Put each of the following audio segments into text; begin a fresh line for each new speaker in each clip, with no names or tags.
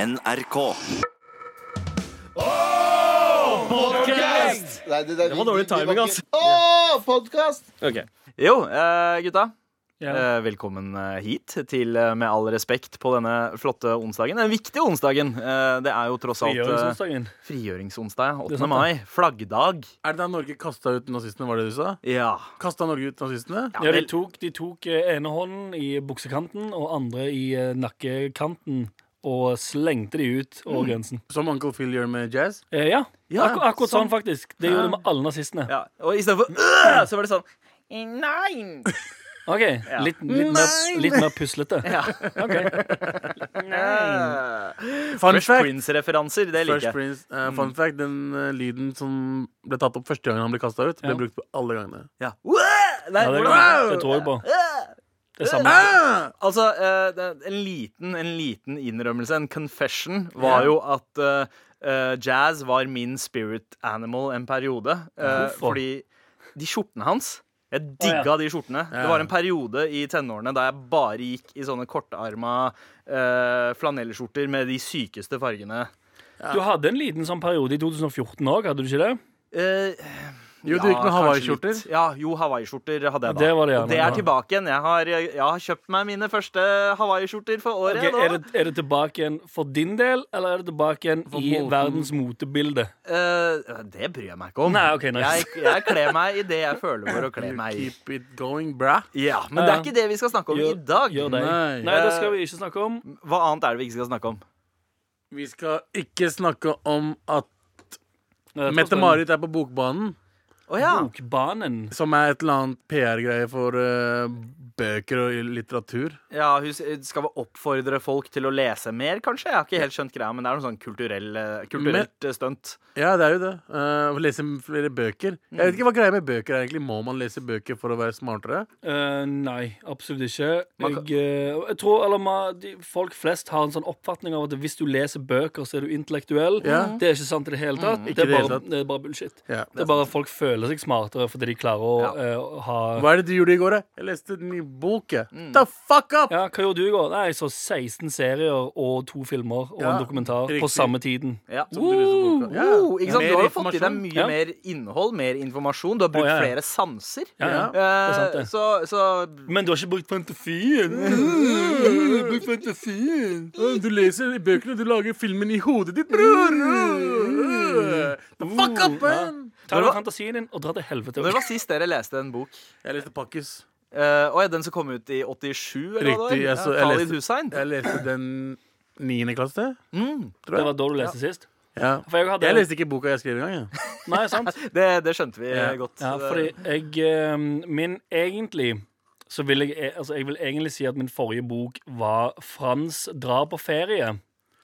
NRK.
Nei, det, det,
var dårlig timing, altså.
Åh, podkast!
Ok.
Jo, eh, gutta.
Ja.
Eh, velkommen eh, hit til eh, Med all respekt på denne flotte onsdagen. Den viktige onsdagen. Eh, det er jo tross alt eh,
Frigjøringsonsdagen.
frigjøringsonsdag.
Det er
8.
sant,
mai. Flaggdag.
Er det da Norge kasta ut nazistene, var det du sa?
Ja.
Kasta Norge ut nazistene?
Ja,
Ja, de
vel.
tok, de tok eh, ene hånden i buksekanten og andre i eh, nakkekanten og slengte de ut
Mm.
over grensen.
Som Uncle Phil gjør med jazz?
Eh, ja,
Ja,
Akkur akkurat sånn,
sånn.
faktisk. Det gjorde de med alle nazistene.
ja. Og
Mm.
istedenfor øh, så var det sånn.
Ok, Litt, litt, mer, litt mer puslete.
Fun
Fresh
fact,
øh. Prince-referanser. Det
Fresh
liker jeg. Mm.
Prince, eh, fun fact Den eh, lyden som ble tatt opp første gangen han ble kasta ut, ble
Ja.
brukt på alle gangene.
Ja. Øh, Nei,
Ja, det,
hvordan-
det tror jeg på.
Øh.
Det samme.
Ah!
Altså, eh, det- en liten, en liten innrømmelse, en confession, var jo at eh, eh, jazz var min spirit animal en periode. eh,
Hvorfor?
fordi de skjortene hans Jeg
ja.
digga de skjortene. Det
Ja.
var en periode i tenårene da jeg bare gikk i sånne kortarma eh, flanellskjorter med de sykeste fargene.
Du hadde en liten sånn periode i 2014 òg, hadde du ikke det?
Eh,
Jo, du
ja,
gikk med
kanskje
hawaiiskjorter.
litt. Ja, jo, hawaiiskjorter hadde jeg da.
Det var det, ja,
Og det
men-
er tilbake igjen. Jeg har, jeg har kjøpt meg mine første hawaiiskjorter for året.
Ok,
nå.
er, det, er det tilbake igjen for din del, eller er det tilbake igjen i
moten.
verdens motebilde?
Eh, det bryr jeg meg ikke om.
Nei, ok, nice.
jeg, jeg kler meg i det jeg føler for å kle
You
meg i.
keep it going, bra.
Ja, Men det er ikke det vi skal snakke om i dag.
Gjør det.
Nei. Eh,
Nei, det skal vi ikke snakke om. Eh,
Hva annet er det vi ikke skal snakke om?
Vi skal ikke snakke om at
Nei, jeg tror det
Mette-Marit er på Bokbanen,
Å
er
ja.
en Bokbanen.
som er et eller annet PR-greie for eh, bøker og litteratur.
ja hun s- Skal vi oppfordre folk til å lese mer, kanskje? Jeg har ikke helt skjønt greia, men det er noe sånn kulturell, eh, kulturelt eh, stunt.
Ja, det er jo det. Eh, å lese flere bøker. Jeg vet ikke hva greia med bøker er egentlig. Må man lese bøker for å være smartere?
Eh, nei, absolutt ikke.
Man kan-
Jeg, eh, jeg tror eller, man, de, Folk flest har en sånn oppfatning av at hvis du leser bøker, så er du intellektuell.
Ja.
Det er ikke sant i det hele tatt.
Ikke
Det,
i
er
det hele
bare,
tatt.
det er bare bullshit.
Ja.
Det er bare at folk føler seg smartere fordi de klarer å eh, ha
Hva er det du gjorde i går, da? Jeg leste en ny bok, jeg.
Mm.
The fuck up!
Ja, Hva gjorde du i går? Nei, Jeg så 16 serier og to filmer og
Ja,
en dokumentar på
riktig.
samme tiden.
Ja.
Som du leser boka. Ja.
Oh, ikke sant?
Mer
Du har jo fått i deg
informasjon.
mye
Ja.
mer innhold, mer informasjon. Du har brukt
Å, ja, ja.
flere sanser.
Ja, ja.
Ja.
Det er sant,
Eh,
det.
Så, så
Men du har ikke brukt fantasien. Du har brukt fantasien.
Å, Du leser i bøkene, du lager filmen i hodet ditt, bror!
Mm.
The fuck up, man!
Ta den fantasien din og dra til helvete.
Når var sist dere leste en bok?
Jeg leste Pakkis.
Uh, og ja, den som kom ut i 87? Eller hva det var?
Riktig. Jeg, så,
Ja,
jeg,
Khalid
leste,
Hussein?
jeg leste den niende klasse.
Det var da du leste sist.
Ja.
For jeg hadde-
Jeg leste ikke boka jeg skrev engang. jeg.
Nei, sant?
Det, det skjønte vi
Ja.
godt.
Ja,
Det-
fordi jeg eh, Min egentlig Så vil jeg eh, Altså, jeg vil egentlig si at min forrige bok var Frans drar på ferie.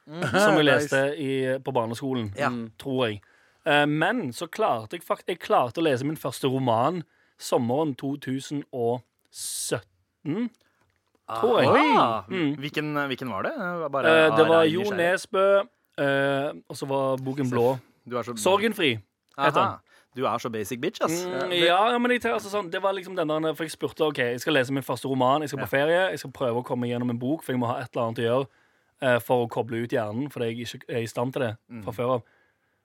Som jeg leste i, på barneskolen,
Mhm. Ja.
tror jeg. Eh, men så klarte jeg faktisk Jeg klarte å lese min første roman sommeren 2017, tror jeg.
Ah, hvilken, hvilken var det? Bare,
Mm. Eh, det
ah,
var
jeg er
Jo
nysgjerrig.
Nesbø, eh, og så var boken blå.
Du er så,
Sorgenfri. heter
Aha.
den.
Du er så basic bitch, ass.
Mm, ja, ja, men jeg, tenker altså sånn, det var liksom den der For jeg spurte ok, jeg skal lese min første roman, jeg skal på ferie, jeg skal prøve å komme gjennom en bok, for jeg må ha et eller annet å gjøre eh, for å koble ut hjernen, fordi jeg ikke er i stand til det fra før av.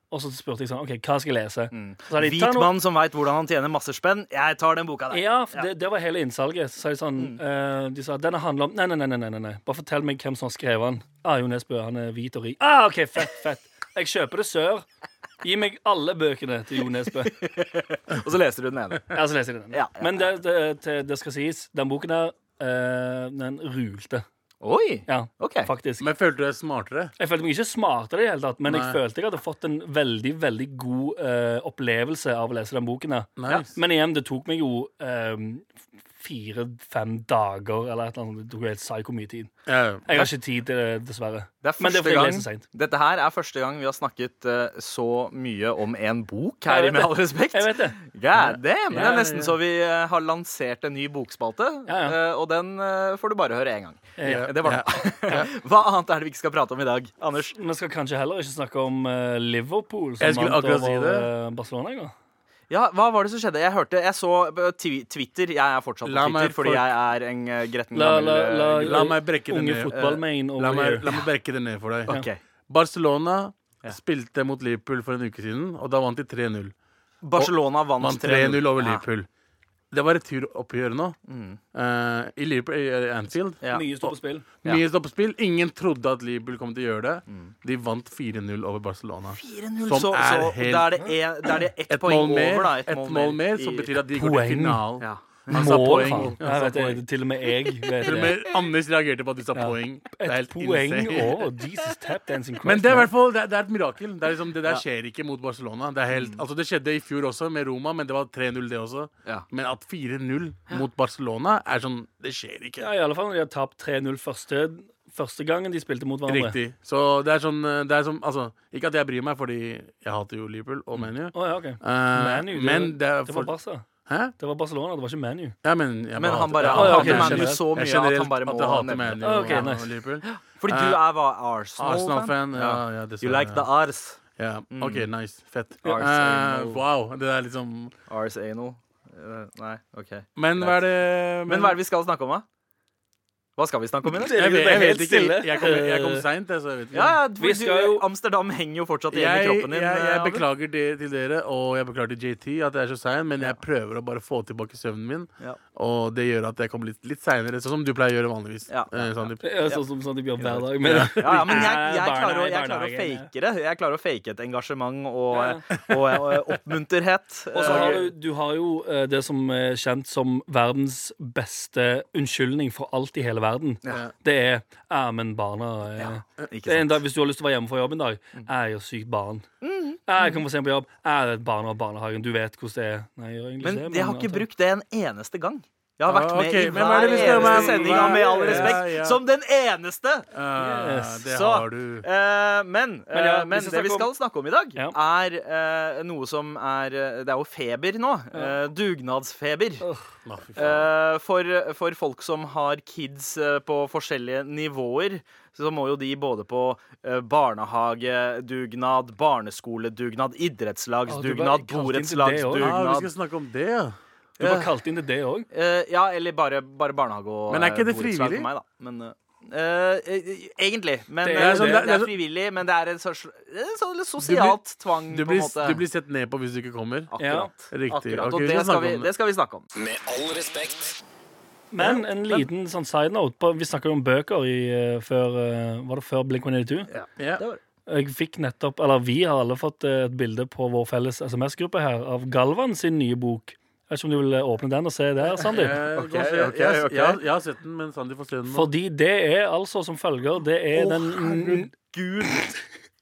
Og så spurte jeg sånn OK, hva skal jeg lese? Så sa de, «Ta
Hvit
noe-
mann som veit hvordan han tjener masse spenn. Jeg tar den boka der.
Ja, for Det, det var hele innsalget. Så sa de sånn eh, De sa denne handler om nei, nei, nei, nei, nei, nei, nei. Bare fortell meg hvem som har skrevet den. Ah, Jo Nesbø. Han er hvit og rik. Ah, OK, fett, fett. Jeg kjøper det sør. Gi meg alle bøkene til Jo Nesbø.
Og så leser du den ene.
Ja, så leser jeg den.
Ja, ja.
Men det, det, til- det skal sies, den boken der, eh, den rulte.
Oi!
Ja,
Ok.
faktisk.
Men følte du deg smartere?
Jeg følte meg ikke smartere, i det hele tatt, men jeg
Nei.
følte jeg hadde fått en veldig veldig god eh, opplevelse av å lese den boken. der.
Nice.
Men igjen, det tok meg jo fire-fem dager eller et eller annet. Det tok jo helt psyko mye tid.
Ja.
Jeg har ikke tid til det, dessverre.
Det er
Men det er
første
fordi jeg leser
gang,
sent.
dette her er første gang vi har snakket eh, så mye om en bok her
Jeg
i
vet
Med
det.
all respekt.
Jeg vet det.
God damn! Det
Ja,
er
ja,
nesten
ja.
så vi eh, har lansert en ny bokspalte.
Ja, ja.
eh, Og den eh, får du bare høre én gang.
Ja.
Det var det. Hva annet er det vi ikke skal prate om i dag, Anders?
Vi skal kanskje heller ikke snakke om eh, Liverpool, som
Jeg skulle
vant
akkurat si
over
det.
eh, Barcelona i går.
Ja, hva var det som skjedde? Jeg hørte, jeg så eh, twi Twitter. Jeg er fortsatt på
La meg
Twitter fordi
for-
jeg er en eh, gretten
La,
gammel
la,
eh,
la,
La meg brekke det
unge
ned.
fotballmain over
La meg,
here.
la meg brekke det ned for deg.
gutt. Ok.
Barcelona
Ja.
spilte mot Liverpool for en uke siden, og da vant de 3-0.
Barcelona
Vant
vant
3-0 over
Ja. Mm.
Liverpool. Det var returoppgjør nå. eh, I Liverpool, i Anfield.
Ja.
Mye står på spill.
Ja. Mm.
Mye står på spill. Ingen trodde at Liverpool kom til å gjøre det. De vant 4-0 over Barcelona.
4-0,
Som
så,
er
så
helt-
da er det, en, da er det ett
Et
poeng
mål mer,
over, da.
et mål mer som
i-
betyr at de går
Poeng.
til finalen.
ja.
Han sa poeng.
faen.
Han
Jeg
sa
vet det, til og med jeg vet det.
Men Anders reagerte på at du sa poeng. Det er
Et
helt
poeng
insane.
og Jesus tap dancing
Men det er, i
man.
hvert fall, det, er, det er et mirakel. Det, er liksom, det der skjer ikke mot Barcelona. Det, er helt,
Mm.
altså det skjedde i fjor også, med Roma, men det var 3-0, det også.
Ja.
Men at 4-0 mot Barcelona er sånn Det skjer ikke.
Ja, I alle fall når de har tapt 3-0 første, første gangen de spilte mot hverandre.
Riktig. Så det er sånn eh, det er som, altså, Ikke at jeg bryr meg, fordi jeg hater jo Liverpool og ManU.
Å, ja, ok.
Eh,
Manu, Mm. det,
men det er
det var
for,
Barca.
Hæ?
Det var Barcelona, det var ikke ManU.
Ja, men jeg
Men han
hater-
bare
jeg
han
hater
hater
ManU
ManU
så mye
Jeg
at han
generelt-
bare må
at jeg hater
nevne det.
ManU
Ok,
og
nice.
Liverpool.
Fordi
Eh,
du er hva? Arsenal-fan?
Arsenal-fan. Ja, ja,
You
dessverre.
like the Ars?
Ja. OK, nice. Fett.
Arsenal.
Eh, wow. Det er liksom
Ars anal? Eh, Nei, OK.
Men hva er det
Men hva er det vi skal snakke om, da? Hva skal vi snakke om i dag?
Jeg, vet- jeg
Det er
vet
helt
ikke.
stille.
Jeg kom, jeg kom seint, så jeg vet ikke.
Ja, ja, du,
Vi skal
du,
jo-
Amsterdam henger jo fortsatt igjen i
Jeg,
kroppen din.
jeg, jeg
eh, Abu.
beklager det til dere, og jeg beklager til JT at jeg er så sein, men jeg prøver å bare få tilbake søvnen min.
Ja.
Og det gjør at jeg kommer litt, litt seinere, sånn som du pleier å gjøre vanligvis.
Ja.
eh, Sandeep.
Det er sånn som sånn de gjør hver dag. Men,
Ja, ja, men jeg, jeg,
Eh, Barna
klarer,
i
å- jeg klarer å
barnehagen,
fake det. Jeg klarer å fake et engasjement og,
Ja,
og, og oppmunterhet.
Og så har du, du har jo eh, det som er kjent som verdens beste unnskyldning for alt i hele verden.
Ja.
Det er 'ja, men barna eh,
Ikke
det er en
sant? Mm.
dag, Hvis du har lyst til å være hjemme fra jobb en dag, 'jeg er jo sykt barn'. 'Jeg kommer for sent på jobb', 'jeg er et barn av barnehagen', du vet hvordan det er. Nei, jeg gjør egentlig
Men
det,
jeg har ikke
altså.
brukt det en eneste gang. Jeg har vært
Ah,
med
ok,
i
men hva er
hver
det vi
eneste
skal- hva-
sending, og med all
hva-
respekt,
ja, ja.
som den eneste!
Eh,
Yes.
Det
Så-
har du.
Eh, men
Men ja,
eh, men
vi skal
det vi
snakke
skal
om-
snakke om i dag,
Ja.
er eh, noe som er eh, Det er jo feber nå. eh, dugnadsfeber.
Å, fy faen.
Eh, for, for folk som har kids eh, på forskjellige nivåer, så må jo de både på eh, barnehagedugnad, barneskoledugnad,
Ah, du
idrettslagsdugnad,
bare kalte inn til det også.
Ah, vi
borettslagsdugnad
skal snakke om det, ja.
Du bare kalte inn til det òg.
Eh, Ja, eller bare, bare barnehage og
Men er ikke
eh,
det
borettslag
frivillig?
for Meg, da. Men, eh, eh, egentlig. Men
Det
det
er
er,
sånn-
det,
det er
er
sånn-
frivillig, men det er en sånn sånn sosialt tvang,
Du
Mm, på
blir,
en måte. Ah.
du blir sett ned på hvis du ikke kommer.
Akkurat.
Riktig.
Akkurat.
Ok,
Og
vi
det
skal
skal,
snakke
vi,
om det.
det skal vi snakke om.
Med all respekt.
Men en liten sånn side note på, Vi snakket jo om bøker i, eh, før, eh, var det før Blink-182.
Ja.
Det var-
Jeg fikk nettopp, eller Vi har alle fått eh, et bilde på vår felles SMS-gruppe her av Galvan sin nye bok. Jeg vet ikke om du vil eh, åpne den og se der, Sandeep?
Eh,
Ok,
gå og se.
ok,
Jeg-
ok.
jeg har- Jeg har sett den, men Sandeep får se den nå.
Fordi det er altså som følger Det er den
Det er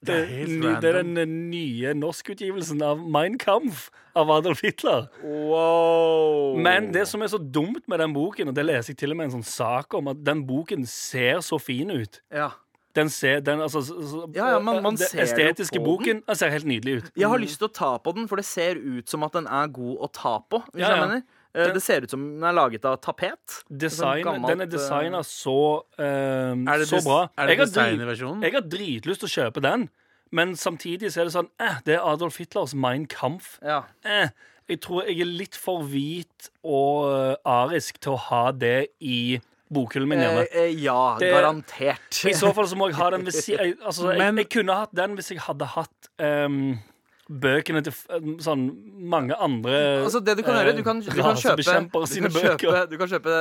det,
helt
ny- det er
random.
den eh, nye norskutgivelsen av Mein Kampf av Adolf Hitler.
Wow.
Men det som er så dumt med den boken, og det leser jeg til og med en sånn sak om, at den boken ser så fin ut.
ja.
Den ser, den, altså, s- s-
Ja, ja, man- man
den
ser jo
estetiske
på
boken den ser helt nydelig ut.
Jeg har lyst til å ta på den, for det ser ut som at den er god å ta på. Hvis
Ja, ja.
jeg mener. Eh, Det ser ut som den er laget av tapet.
Design,
Sånn gammelt,
den er designa så, eh,
Er det
så
des-
bra.
er
Jeg
det
har drit-
designerversjonen?
Jeg har dritlyst til å kjøpe den, men samtidig så er det sånn eh, Det er Adolf Hitlers Mein Kampf.
eh, Ja.
Eh, jeg tror jeg er litt for hvit og eh, arisk til å ha det i bokhyllen min hjemme.
Eh, eh, ja,
Det-
garantert.
I så fall så må jeg ha den ved si- jeg, altså, jeg,
Men-
jeg kunne hatt den hvis jeg hadde hatt ehm, bøkene til f- ehm, sånn mange andre eh,
Altså det Du kan gjøre, du kan, du kan kjøpe
rasebekjempere
Du
sine
kan
bøker.
kjøpe, du kan kjøpe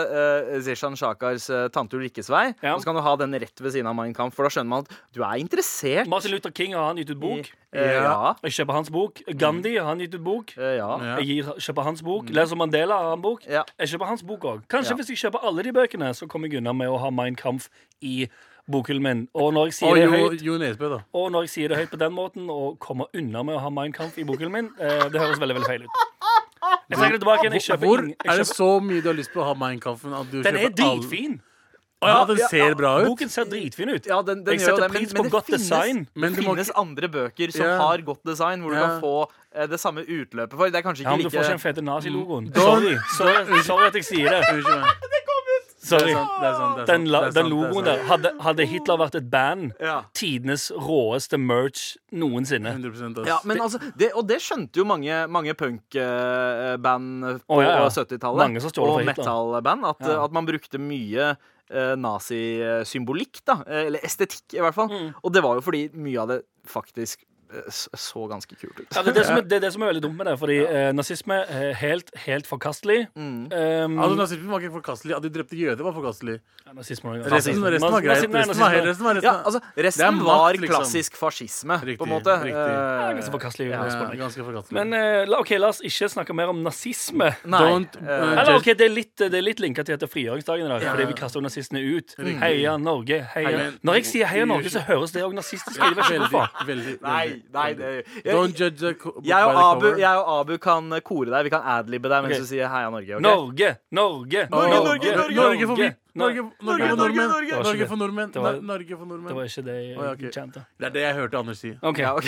eh, Zishan Shakars eh, 'Tante Ulrikkes vei',
Ja.
og så kan du ha den rett ved siden av Mein Kampf, for da skjønner man at du er interessert.
Martin Luther King har han gitt ut
i-
bok.
eh, ja.
Jeg kjøper hans bok. Gandhi har han gitt ut bok.
eh, ja. Mm.
Ja.
Jeg gir, kjøper hans bok. Leser Mandela har han bok.
Ja.
Jeg kjøper hans bok òg. Kanskje
Ja.
hvis jeg kjøper alle de bøkene, så kommer jeg unna med å ha Mein Kampf i bokhyllen min. Og når jeg sier
Og
det
Jo,
høyt
jo Nesbø, da.
Og når jeg sier det høyt på den måten, og kommer unna med å ha Mein Kampf i bokhyllen min, eh, det høres veldig veldig feil ut. Jeg trekker det tilbake igjen. Jeg kjøper
Hvor
ingen-
er
jeg
det
kjøper,
så mye du har lyst på å ha Mein Kampf? At du
Den er
kjøper all-
dritfin.
Å ja, den ser bra ut.
Boken ser dritfin ut.
Ja, den, den
Jeg
gjør jo
setter
det, men-
pris
men
på
det
godt
finnes-
design.
Men
Det
du må
finnes andre bøker som
Ja.
har godt design, hvor du
Ja.
kan få eh, det samme utløpet for. Det Mm. er kanskje
Ja,
ikke
men Du får ikke
like
den fete nazilogoen.
Da-
Sorry. Sorry, sorry at jeg sier det.
Unnskyld meg.
Sorry.
Det er sant, det er sant, det er sant,
Den, la,
det er sant,
den
det er
logoen
sant.
der. Hadde, hadde Hitler vært et band,
Ja.
tidenes råeste merch noensinne.
100 ass.
Ja, men altså, det, Og det skjønte jo mange, mange punkband på
Å, ja, ja.
70-tallet.
Mange som stjal
Og
fra Hitler.
metal-band. At,
Ja.
at man brukte mye eh, nazisymbolikk, da. eh, Eller estetikk, i hvert fall.
Mm.
Og det var jo fordi mye av det faktisk eh, s- så ganske kult ut.
Ja, det, er det, som er, det er det som er veldig dumt med det, fordi eh, nazisme er helt, helt forkastelig.
Mm.
Mm.
Um,
Altså, Nazismen var ikke forkastelig. At de drepte jøder, var forkastelig.
ja, nazisme er noe annet.
Resten, resten var greit.
Nazisme er
Resten var,
nazisme.
resten var, resten
Ja,
var.
altså,
Det er
Resten
makt,
var
liksom.
klassisk fascisme, på
Riktig,
en måte.
riktig.
Ja, liksom
Eh,
ganske forkastelig.
Ja,
spør meg.
ganske forkastelig.
Men eh, la, ok, la oss ikke snakke mer om nazisme.
Mm.
nei.
Don't,
eh,
Eller
Just-
ok, Det er litt, det er litt linka til at det er frigjøringsdagen i dag. Fordi vi kaster nazistene ut. Heia Norge. heia
Men-
Når jeg sier heia Norge, så høres det òg nazistisk ut. Jeg vet ikke hvorfor.
veldig, veldig,
nei,
veldig.
nei det,
Don't judge the co- book
jeg og,
by the
Abu,
cover.
jeg og Abu kan kore deg. Vi kan adlibe deg mens
Ok.
du sier heia Norge. ok?
Norge, Norge,
Norge,
Norge, Norge,
Norge, Norge for hvit. Norge, Norge
Norge,
for nordmenn.
Norge.
Det var
Norge
ikke
for nordmenn.
Det var-
Ne- Norge for
Det
nordmenn.
var ikke det jeg
Å, ja, ok.
kjente.
Det er det jeg hørte Anders si.
Ok,
Ja, ok.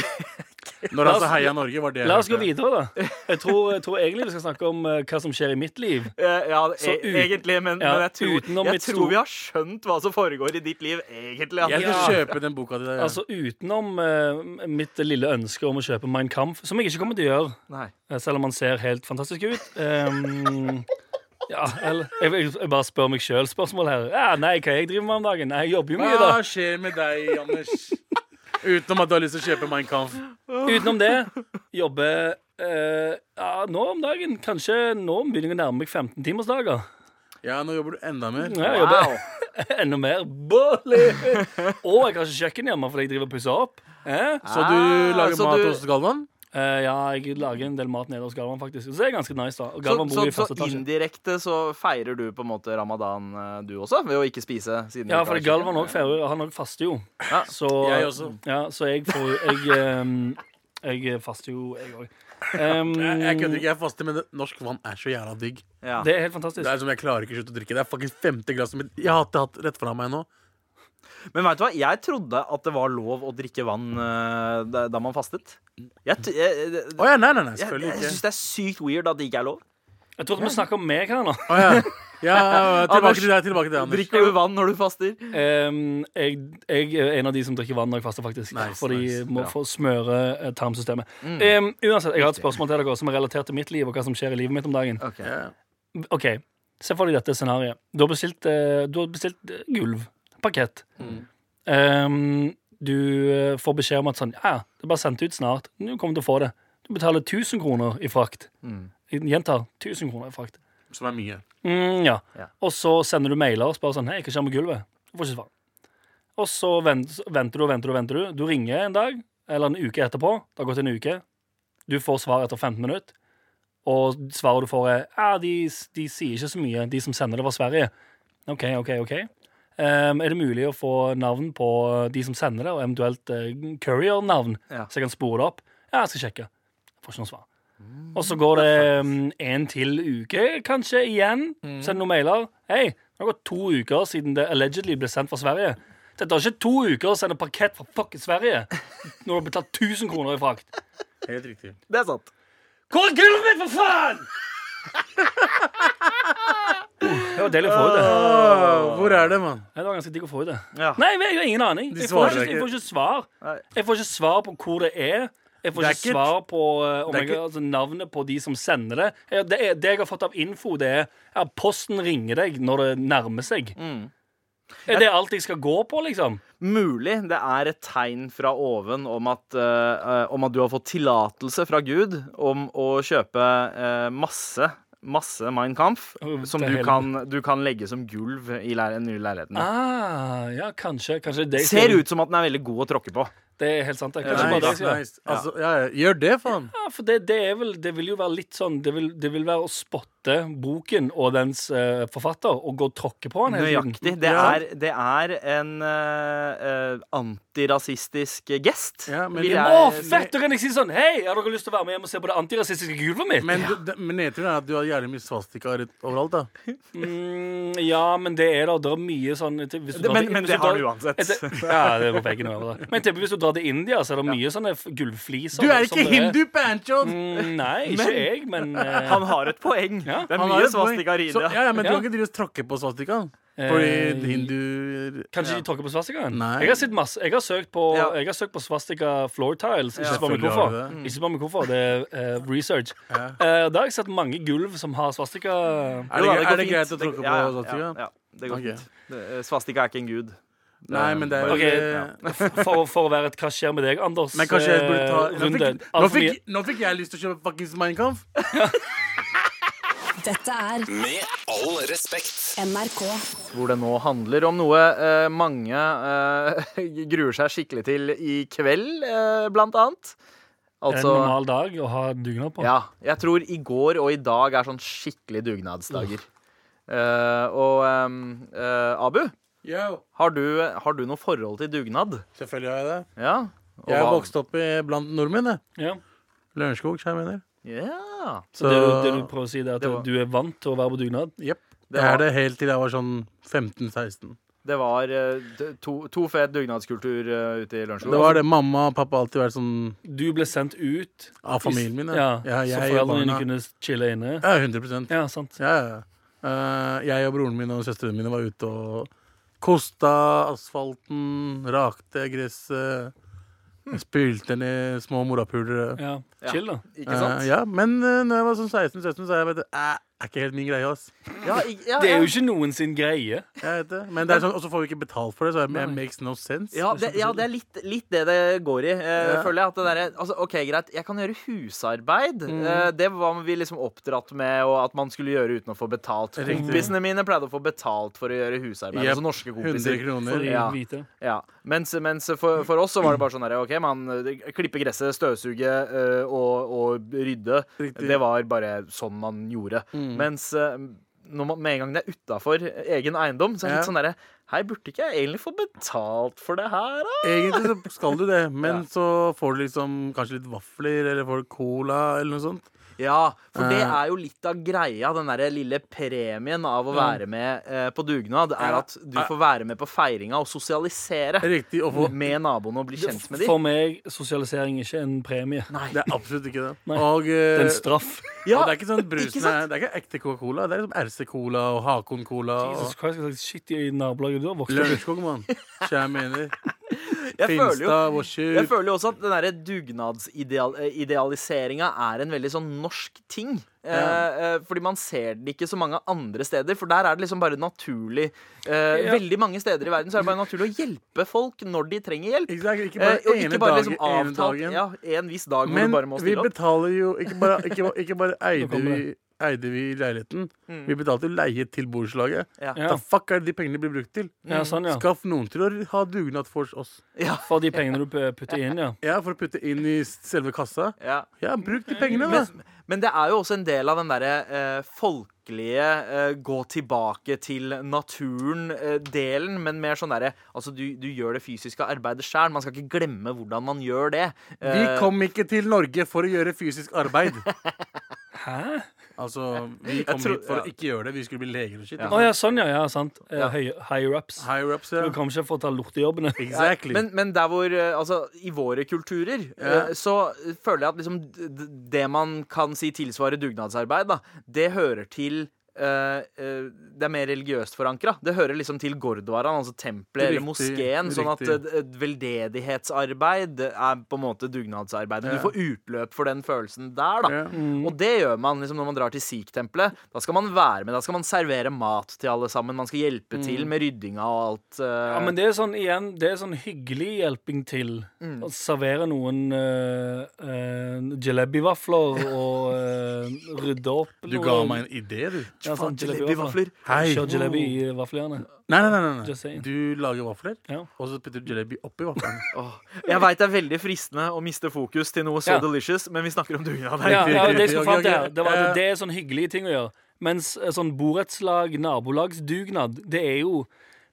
Når han
La
sa
oss-
heia Norge, var det jeg
La oss gå
hørte.
videre, da. Jeg tror, jeg tror egentlig vi skal snakke om eh, hva som skjer i mitt liv.
Eh, Ja,
Så
e
uten-
egentlig, men,
ja,
men jeg tror,
utenom
jeg
mitt
tror
store-
vi har skjønt hva som foregår i ditt liv, egentlig.
Jeg
Anders.
skal kjøpe den boka di.
Altså utenom eh, mitt lille ønske om å kjøpe Mein Kampf, som jeg ikke kommer til å gjøre,
Nei.
eh, selv om han ser helt fantastisk ut. Ehm, ja, eller jeg, jeg, jeg bare spør meg sjøl spørsmål her. Ja, nei, hva jeg driver med om dagen? Nei, jeg jobber jo mye, da.
Ah,
Hva skjer med deg, Anders? Utenom at du har lyst til å kjøpe Mein Kampf.
Utenom det jobber eh, ja, nå om dagen Kanskje nå begynner jeg å nærme meg 15-timersdager.
Ja, nå jobber du enda mer.
Ja, jeg jobber
Wow.
enda mer. Bolly! Og jeg har ikke kjøkken hjemme fordi jeg driver og pusser opp. Eh?
Så du
Ah,
lager
så
mat
du-
hos Galvan?
Eh, ja, jeg lager en del mat nede hos Galvan, faktisk. Så det er ganske nice, da. Og
Så,
Galvan
så,
bor i
så
første etasje.
indirekte så feirer du på en måte ramadan eh, du også, ved å ikke spise? siden
Ja,
du ikke
for
har
Galvan
kjøkken?
òg feirer, og han òg faster jo.
Ja,
Så,
jeg også.
Ja, så jeg får Jeg, ehm, jeg faster jo, jeg Ehm, òg.
Jeg jeg kødder ikke, jeg faster, men det- norsk vann er så jævla digg.
Ja.
det er helt fantastisk.
Det er som Jeg klarer ikke å slutte å drikke. Det er faktisk femte glasset mitt. Jeg har hatt det hatt rett fra meg nå.
Men vet du hva, jeg trodde at det var lov å drikke vann eh, da, da man fastet. Jeg, t- jeg, jeg,
Å ja, nei, nei, nei,
jeg,
selvfølgelig
jeg
ikke.
syns det er sykt weird at det ikke er lov.
Jeg trodde vi snakka om meg her nå.
Å, ja. Ja, tilbake
Anders,
til deg, tilbake til deg, Anders.
Drikker du vann når du faster?
Ehm, jeg, jeg er en av de som drikker vann når jeg faster, faktisk.
Nice,
fordi
nice. Mm.
må
Bra.
få smøre eh, tarmsystemet. Ehm, uansett, jeg har et spørsmål til dere som er relatert til mitt liv og hva som skjer i livet mitt om dagen.
Ja.
OK, se for deg dette scenarioet. Du har bestilt, eh, du har bestilt eh, gulv. Parkett. Ehm, du eh, får beskjed om at sånn, ja, det er bare sendt ut snart. Du kommer til å få det. Du betaler 1000 kroner i frakt. Jeg gjentar 1000 kroner i frakt.
Som er mye.
Mm, ja.
Ja.
Og så sender du mailer og spør sånn Hei, hva skjer med gulvet? Du får ikke svar. Og så vent- venter du og venter du og venter du. Du ringer en dag, eller en uke etterpå. Det har gått en uke. Du får svar etter 15 minutter. Og svaret du får, er ja, de, de sier ikke så mye, de som sender det, var Sverige. OK, OK, OK. Ehm, er det mulig å få navn på de som sender det, og eventuelt uh, courier-navn,
Ja.
så jeg kan spore det opp? Ja, jeg skal sjekke. Får ikke noe svar. Og så går det mm, en til uke, kanskje, igjen. Send noen mailer. Hei, det har gått to uker siden det allegedly ble sendt fra Sverige. Det tar ikke to uker å sende parkett fra fucking Sverige når du har betalt 1000 kroner i frakt.
Helt riktig.
Det er sant.
Hvor er gulvet mitt, for faen?! Det var deilig å få ut det.
hvor er det, mann?
Nei, Det var ganske digg å få ut det.
Ja.
Nei, jeg har ingen aning.
De
Jeg får
svarer
ikke, jeg får ikke svar.
Nei.
Jeg får ikke svar på hvor det er. Jeg får
Det er
ikke
ikke-
svar på eh, om
det er
jeg,
ikke-
altså, navnet på de som sender det. Eh, Det, er, det jeg har fått av info, det er at posten ringer deg når det nærmer seg.
Mm.
Er det alt jeg skal gå på, liksom?
Mulig det er et tegn fra oven om at, eh, eh, om at du har fått tillatelse fra Gud om å kjøpe eh, masse masse Mein Kampf
Oh,
som
det
du
hele-
kan, du kan legge som gulv i lære- den nye leiligheten.
Ah, ja, kanskje. Kanskje det jeg
Ser
skal-
ut som at den er veldig god å tråkke på.
Det er helt sant. Det. Kanskje bare det jeg
Nice,
skal gjøre.
nice. Altså, ja, ja. Gjør det, faen.
Ja, for det, det, er vel, det vil jo være litt sånn Det vil, det vil være å spotte boken og dens eh, forfatter og gå og tråkke på den hele tiden.
Nøyaktig. Det
Ja.
er, det er en eh, eh, antirasistisk gest.
Ja, men
vil
det-
jeg- eh,
Å, fett! Da kan jeg si sånn Hei, har dere lyst til å være med hjem og se på det antirasistiske gulvet mitt?
Men, du- det- men nedturen er at du har jævlig mye svastika rett overalt, da.
Mm, ja, men det er da Det er mye sånn til- hvis du drar
Men,
til-
men
hvis
det
du drar-
har du uansett.
Et- Ja, det er på veggen over der. Men jeg tipper hvis du drar til India, så er det mye sånne f- gulvfliser.
Du er
Sånn som
ikke
det
hindu, Pancho!
Mm, nei, ikke
Men-
jeg, men eh,
Han har et poeng.
Ja.
Det er
Han har
mye
et poeng.
svastika i
Så-
India.
Ja, ja, men du
Ja.
kan ikke drive og tråkke på svastikaen. Fordi hinduer
eh, Kanskje de tråkker på svastikaen?
Nei.
Jeg har, sett masse, jeg har søkt på,
Ja.
jeg har søkt på svastika floor tiles. Ikke
Ja,
spør meg
selvfølgelig
hvorfor.
har du
Ikke spør meg hvorfor, Det er eh, research.
Ja.
Eh, da har jeg sett mange gulv som har svastika.
Er det,
Jo da,
gre-
går
er det
fint.
greit å tråkke på
ja, ja,
svastika?
Ja, ja, det går
Ok.
fint. Det- eh, Svastika er ikke en gud.
Nei, men det er eh,
Ok, for, for å være et 'hva skjer med deg', Anders.
Men kanskje jeg burde ta
eh,
Nå
runde.
fikk, nå
Alt for
fikk,
mye-
nå fikk jeg lyst til å kjøpe fuckings Mein Kampf.
Dette er
Med all respekt.
NRK.
Hvor det nå handler om noe eh, mange eh, gruer seg skikkelig til i kveld, eh, blant annet.
en
Altså
normal dag å ha dugnad på.
Ja. Jeg tror i går og i dag er sånn skikkelig dugnadsdager. Eh, og ehm, eh, Abu,
Yo.
har du, har du noe forhold til dugnad?
Selvfølgelig har jeg det.
Ja. Og
Jeg er
hva-
vokst opp i, blant nordmenn. jeg.
Ja.
Lørenskog, så jeg mener.
Ja.
Så det, du- det du prøver å si, det er at
Det var-
du er vant til å være på dugnad?
Jepp.
Det
Det er
var-
det helt til jeg var sånn 15-16.
Det var eh, d- to, to fet dugnadskultur eh, ute i Lørenskog.
Det var det mamma og pappa alltid vært sånn
Du ble sendt ut,
av familien min.
ja,
ja jeg,
så
og
foreldrene dine
barna-
kunne chille inne?
Ja, 100
Ja, sant.
Ja, ja. Eh, jeg og broren min og søstrene mine var ute og kosta asfalten, rakte gresset, spylte ned små morapulere.
Ja.
Ja.
Chill, da.
Ikke sant?
Eh, ja, men uh, når jeg var sånn 16-17, så er jeg vet, det er ikke helt min greie. ass
Ja, i- ja,
Det er
ja.
jo ikke noen sin greie.
Jeg vet det. Men det er sånn, Og så får vi ikke betalt for det, så det makes no sense.
Ja, det, ja, det er litt, litt det det går i, eh,
Ja.
føler jeg. At det derre- altså, OK, greit, jeg kan gjøre husarbeid.
Mm.
Eh, det var vi liksom oppdratt med, og at man skulle gjøre uten å få betalt.
Riktig.
Kompisene mine pleide å få betalt for å gjøre husarbeid.
Jep,
Altså norske
100
kompiser.
kroner.
For å
Ja.
vite.
Ja. Mens, mens for, for oss så var det bare sånn derre OK, man eh, klippe gresset, støvsuge eh, og, og rydde.
Riktig. Mm.
Det var bare sånn man gjorde. Mens eh, når man, med en gang det er utafor egen eiendom, så er det litt
Ja.
sånn derre Hei, burde ikke jeg egentlig få betalt for det her, da?
Egentlig så skal du det, men
Ja.
så får du liksom kanskje litt vafler eller får du cola eller noe sånt.
Ja, for det
Eh.
er jo litt av greia, den der lille premien av å være med eh, på dugnad, er
Ja.
at du får være med på feiringa og sosialisere
Riktig å få.
med naboene og bli kjent med
For
dem.
meg sosialisering er ikke en premie.
Det er absolutt ikke det.
Nei.
Og,
Det er
eh,
en straff.
Ja,
og det er ikke sånn brusen
sant?
er, Det er ikke ekte Coca-Cola. Det er liksom RC-Cola og Hakon-Cola.
Jesus
og
Christ, hva slags shit i nabolaget du har vokst opp i?
Lørenskog, mann. Så jeg mener.
jeg føler jo
Finstad, Washer.
jeg føler jo også at den derre dugnadsidealiseringa er en veldig sånn norsk ting. Eh, eh, fordi man ser det ikke så mange andre steder. For der er det liksom bare naturlig eh,
Ja.
Veldig mange steder i verden så er det bare naturlig å hjelpe folk når de trenger hjelp.
Ikke, sant? ikke
Eh,
bare
og
ene
ikke bare
dagen,
liksom
ene
avtalt
dagen.
ja, en viss dag hvor
Men
du bare må
vi
stille opp.
betaler jo Ikke bare, ikke, ikke bare eide,
kommer
vi, eide vi leiligheten. Vi betalte jo leie til borettslaget.
Mm. Ja.
Ja.
Da fuck er det de pengene blir brukt til?
Ja, sånn, ja.
Skaff noen til å ha dugnad for oss.
For de pengene du putter inn, ja.
Ja, For å putte inn i selve kassa.
Ja.
Ja, bruk de pengene, da.
Men, men det er jo også en del av den derre eh, folkelige eh, gå tilbake til naturen-delen, men mer sånn derre Altså, du, du gjør det fysiske arbeidet sjøl. Man skal ikke glemme hvordan man gjør det.
Vi
Eh,
kom ikke til Norge for å gjøre fysisk arbeid.
Hæ?
Altså, vi kom
tror-
hit
ja.
for å ikke gjøre det. Vi skulle bli leger og shit.
Å ja, sånn, ja. ja sant. Eh, høy- Higher-ups.
Higher ups,
Du
ja.
kommer ikke for å ta lortejobbene.
Exactly.
Men, men der hvor, eh, altså, i våre kulturer, eh, så føler jeg at liksom d- d- det man kan si tilsvarer dugnadsarbeid, da, det hører til eh, eh, det er mer religiøst forankra. Det hører liksom til gordwaraen, altså tempelet eller
Riktig,
moskeen. Sånn at
riktig.
eh, d- veldedighetsarbeid er på en måte dugnadsarbeid.
Ja.
Du får utløp for den følelsen der, da.
Ja. mm.
Og det gjør man liksom når man drar til sikh-tempelet. Da skal man være med, da skal man servere mat til alle sammen. Man skal
Mm.
hjelpe til med ryddinga og alt. eh,
Ja, men det er sånn igjen, det er sånn hyggelig hjelping til. Å servere noen uh, jalebi-vafler og eh, rydde opp.
Du
noe.
ga meg en idé, du.
ja, sånn, jalebi-vafler.
jalebi-vafler.
Hei.
Kjør jalebi i vaflene.
Nei, nei, nei.
Just
nei.
saying.
Du lager vafler,
Ja.
og så putter du jalebi oppi vaflene.
Åh, jeg veit det er veldig fristende å miste fokus til noe så
Ja.
delicious, men vi snakker om dugnad her.
Ja, ja,
riktig,
det jeg skulle
riktig.
fram til,
Ok,
her, det var
eh.
at det er sånn hyggelige ting å gjøre. Mens eh, sånn borettslag, nabolagsdugnad, det er jo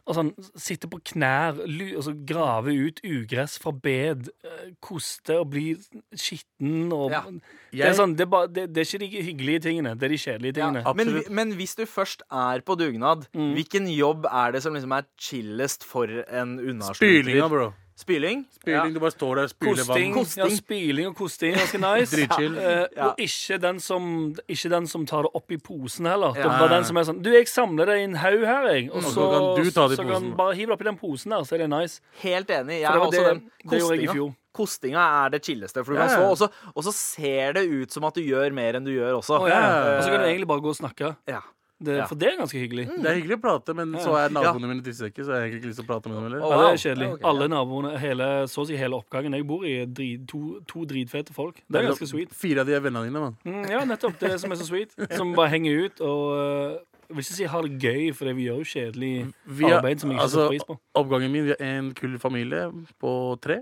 og sånn, sitte på knær, lu- altså, grave ut ugress fra bed, eh, koste og bli skitten og
Ja.
Det er,
Jeg-
sånn, det, er bare, det, det er ikke de hyggelige tingene, det er de kjedelige tingene.
Ja.
Men,
Absolutt.
men hvis du først er Mm. på dugnad, hvilken jobb er det som liksom er chillest for en unnaslutrer?
Spylinga, bro.
Spyling.
Spyling, du bare står der og spyler
Kosting, ja,
vann.
spyling og kosting. Ganske nice.
Dritchill.
Eh, Og ikke den, som, ikke den som tar det opp i posen heller. Det var den som er sånn Du, jeg samler det i en haug her, jeg. Og
så
så,
kan du ta det i
så
posen.
kan bare hiv det oppi den posen der, så er det nice.
Helt enig. Jeg
For det
er
var
også
det-
den
det gjorde jeg i
kostinga.
fjor.
Kostinga er det chilleste, for du
Ja,
kan
ja.
stå, og så, og så ser det ut som at du gjør mer enn du gjør også. Eh,
Å, ja. Og så kan du egentlig bare gå og snakke.
Ja.
Det,
Ja.
For det er ganske hyggelig.
Det er hyggelig å prate, men så er naboene mine drittsekker, så jeg har egentlig ikke lyst til å prate med dem
Å,
heller.
Ja, det
wow.
er kjedelig.
Ja, ok,
Alle naboene, hele, så å si hele oppgangen jeg bor i, er drit, to, to dritfete folk. Det er ganske sweet.
Fire av de er vennene dine, mann.
Mm, ja, nettopp. Det er det som er så sweet. Som bare henger ut og øh, Jeg vil ikke si ha det gøy, for vi gjør jo kjedelig
Vi er-
arbeid som vi ikke
altså,
setter pris på.
Oppgangen min, vi er en kul familie på tre.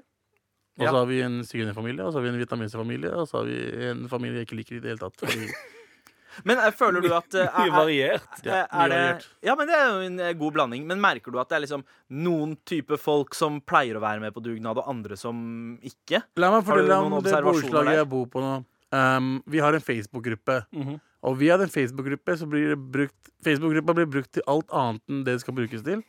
Og
Ja.
så har vi en sigøynerfamilie, og så har vi en vietnameserfamilie, og så har vi en familie jeg ikke liker i det hele tatt. Fordi
Men eh, føler du at eh,
Mye
er, er,
Ah,
variert.
det
Eh,
er
er det
variert.
Ja, men det er jo en eh, god blanding. Men merker du at det er liksom noen type folk som pleier å være med på dugnad, og andre som ikke?
La meg
Har du
fortelle om
noen
det
observasjoner
borettslaget
der?
jeg bor på nå. Um, vi har en Facebook-gruppe.
Mhm.
Og via den Facebook-gruppe så blir det brukt Facebook-gruppa blir brukt til alt annet enn det det skal brukes til.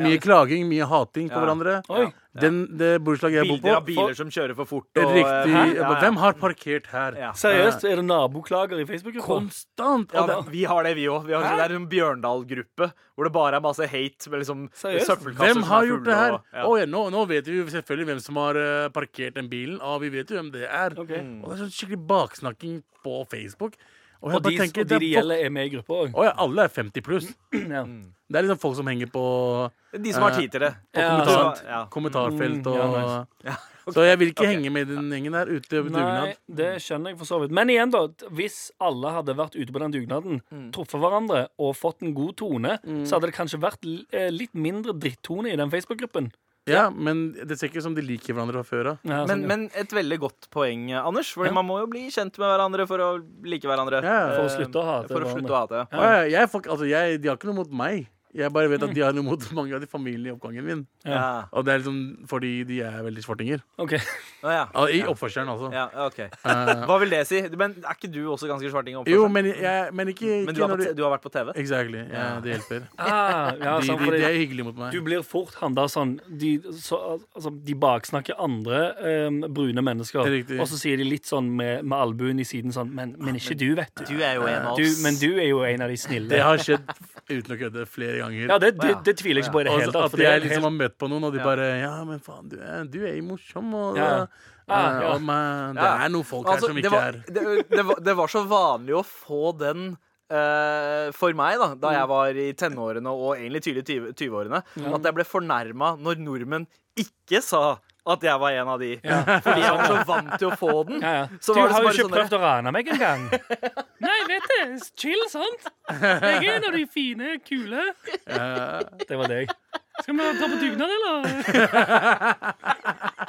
Mye klaging, mye hating på
Ja.
hverandre.
Oi.
Den, det borettslaget jeg bor
Bilder av
på
biler som kjører for fort. Og, eh,
Riktig.
hæ?
jeg bare, Hvem har parkert her?
Ja.
Seriøst, er det naboklager i Facebook-gruppa?
Konstant!
Ja,
Og det,
men vi har det, vi òg. Det er en Bjørndal-gruppe hvor det bare er masse hate med liksom
Seriøst?
søppelkasser
hvem
som
har
er
gjort
fulle
det her?
og- ja.
Å ja, nå, nå vet vi jo selvfølgelig hvem som har eh, parkert den bilen. Ah, vi vet jo hvem det er.
Ok.
Og det er sånn skikkelig baksnakking på Facebook. Og jeg
Og de,
bare tenker
og de det
det er folk,
gjelder, er med i gruppa òg.
Å ja, alle er 50 pluss.
Ja.
Det er liksom folk som henger på
De som har tid til det.
På
Ja,
kommentar,
sant. Ja.
kommentarfelt
Mm,
og
ja, nice.
Så jeg vil ikke henge med i den gjengen der ute på
Nei,
dugnad.
det skjønner jeg for så vidt. Men igjen, da. Hvis alle hadde vært ute på den dugnaden,
Mm.
truffet hverandre og fått en god tone, så hadde det kanskje vært l- eh, litt mindre drittone i den Facebook-gruppen.
Ja, men det ser ikke ut som de liker hverandre fra før av.
Ja,
Men,
sånn, ja.
men et veldig godt poeng, eh, Anders. Fordi man må jo bli kjent med hverandre for å like hverandre.
Ja,
for å
Eh,
slutte å hate
For å
hverandre.
slutte å hate.
Å ja, jeg, får ikke- altså, jeg, de har ikke noe mot meg. Jeg bare vet at de har noe mot mange av de familiene i oppgangen min.
Ja.
Og det er liksom fordi de er veldig svartinger.
Ok.
Å, ja.
Al- I oppførselen, altså.
ja, OK.
Eh,
Hva vil det si? Men er ikke du også ganske svarting? i
jo,
oppførsel?
men, jeg, men ikke, ikke
men du har,
når
på,
du
t- du har vært på TV?
Exactly. Ja, det hjelper.
Ah, ja,
De,
sant,
de,
fordi-
de er hyggelige mot meg.
Du blir fort handla sånn de, så, altså, de baksnakker andre em, brune mennesker,
Det er riktig. Ah,
og så sier de litt sånn med, med albuen i siden sånn Men, men ikke du, vet du.
er jo en
du. Men du er jo en av de snille.
Det har skjedd uten å kødde flere ganger.
ja, det, det,
Å, ja.
det tviler jeg ikke på i det
Og
hele
så
tatt.
at
For det er
jeg
helt,
liksom har møtt på noen, og de
Ja.
bare Ja, men faen, du er, du er jo morsom, og,
Ja.
eh,
Ah, Ja, ja.
og men, det
Ja.
er noen folk
Altså,
her som
det,
ikke
var,
er
det, det, var, det var så vanlig å få den eh, for meg, da da
Mm.
jeg var i tenårene og egentlig tidlig i 20-årene, at jeg ble fornærma når nordmenn ikke sa at jeg var en av de. Fordi jeg var så vant til å få den.
ja, ja.
Så
Du
var det
har jo
så bare
ikke
sånn
prøvd å rane meg engang. Nei, vet du. Chill, sant? Jeg er en av de fine, kule. Det var deg. Skal vi ta på dugnad, eller?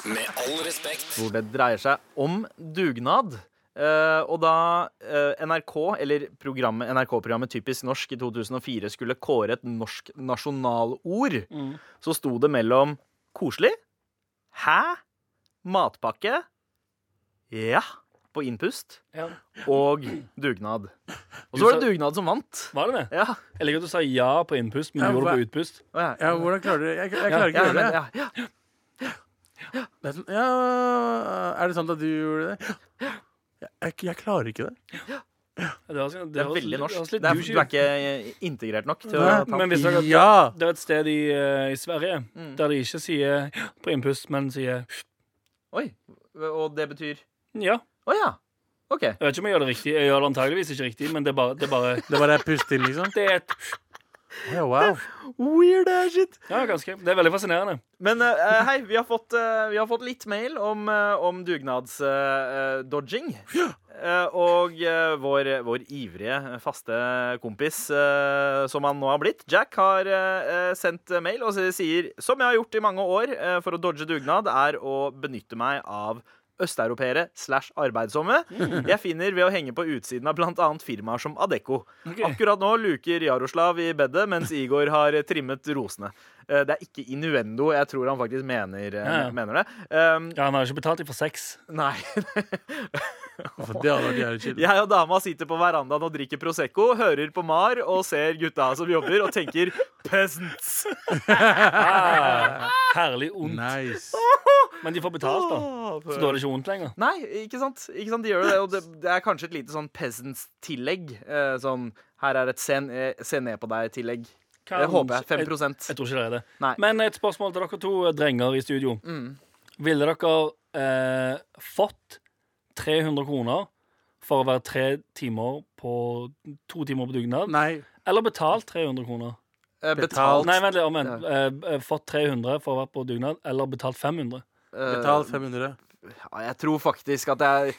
Med all respekt.
hvor det dreier seg om dugnad. Eh, og da eh, NRK, eller programmet, NRK-programmet Typisk norsk i 2004 skulle kåre et norsk nasjonalord, så sto det mellom koselig, hæ, matpakke, ja, på innpust,
Ja.
og dugnad. Og så var det dugnad som vant.
Var det det?
Ja,
Jeg liker at du sa ja på innpust, men
Ja,
du gjorde det
hva-
på utpust.
å ja.
ja, Hvordan klarer du det? Jeg, jeg klarer
ja,
ikke å
men,
gjøre det.
ja, ja.
det er, sånn, ja, er det sant at du gjorde det? Jeg, jeg, jeg klarer ikke det.
Det, var, det,
Det er
var-
veldig
var
norsk.
litt
Det er,
douchey
du er ikke integrert nok til å
Nei,
ta
men hvis dere-
Ja!
Det er et sted i, eh, i Sverige
Mm.
der de ikke sier på innpust, men sier
Oi, og det betyr
ja.
Å ja. OK.
Jeg vet ikke om jeg gjør det riktig. Jeg gjør det antageligvis ikke riktig, men det er bare Det er, bare,
Det bare er pust inn, liksom.
det er et
Ja, wow.
Weird as shit.
Ja, ganske. Det er veldig fascinerende.
Men eh, hei, vi har, fått, eh, vi har fått litt mail om, eh, om eh, dugnadsdodging. og eh, vår, vår ivrige, faste kompis, eh, som han nå har blitt, Jack, har eh, eh, sendt mail og sier Som jeg har gjort i mange år eh, for å dodge dugnad, er å benytte meg av Østeuropeere slash arbeidsomme.
Mm.
Jeg finner ved å henge på utsiden av bl.a. firmaer som Adecco. Akkurat nå luker Jaroslav i bedet, mens Igor har trimmet rosene. Eh, Det er ikke innuendo. Jeg tror han faktisk mener, eh,
Ja, ja.
mener det. Um,
Ja, Han har ikke betalt dem for sex.
nei.
For det hadde vært jævlig chill.
Jeg og dama sitter på verandaen og drikker Prosecco, hører på Mar og ser gutta som jobber, og tenker 'peasants'.
Ah, herlig ondt.
Nice.
Men de får betalt, da. Så da er det ikke vondt lenger.
Nei, ikke sant? ikke sant? De gjør jo det, og det, det er kanskje et lite sånn peasants-tillegg. Eh, sånn 'her er et se, eh, se ned på deg'-tillegg. Det håper jeg. 5
Jeg tror ikke det er det.
Nei. Mm.
Men et spørsmål til dere to eh, drenger i studio. Ville dere eh, fått 300 kroner for å være tre timer på to timer på dugnad?
Nei.
Eller betalt 300 kroner?
Eh,
Betalt.
betalt.
Nei, vent litt. Omvendt. Eh, eh, fått 300 for å være på dugnad, eller betalt 500?
eh,
Betal 500.
ja, jeg tror faktisk at jeg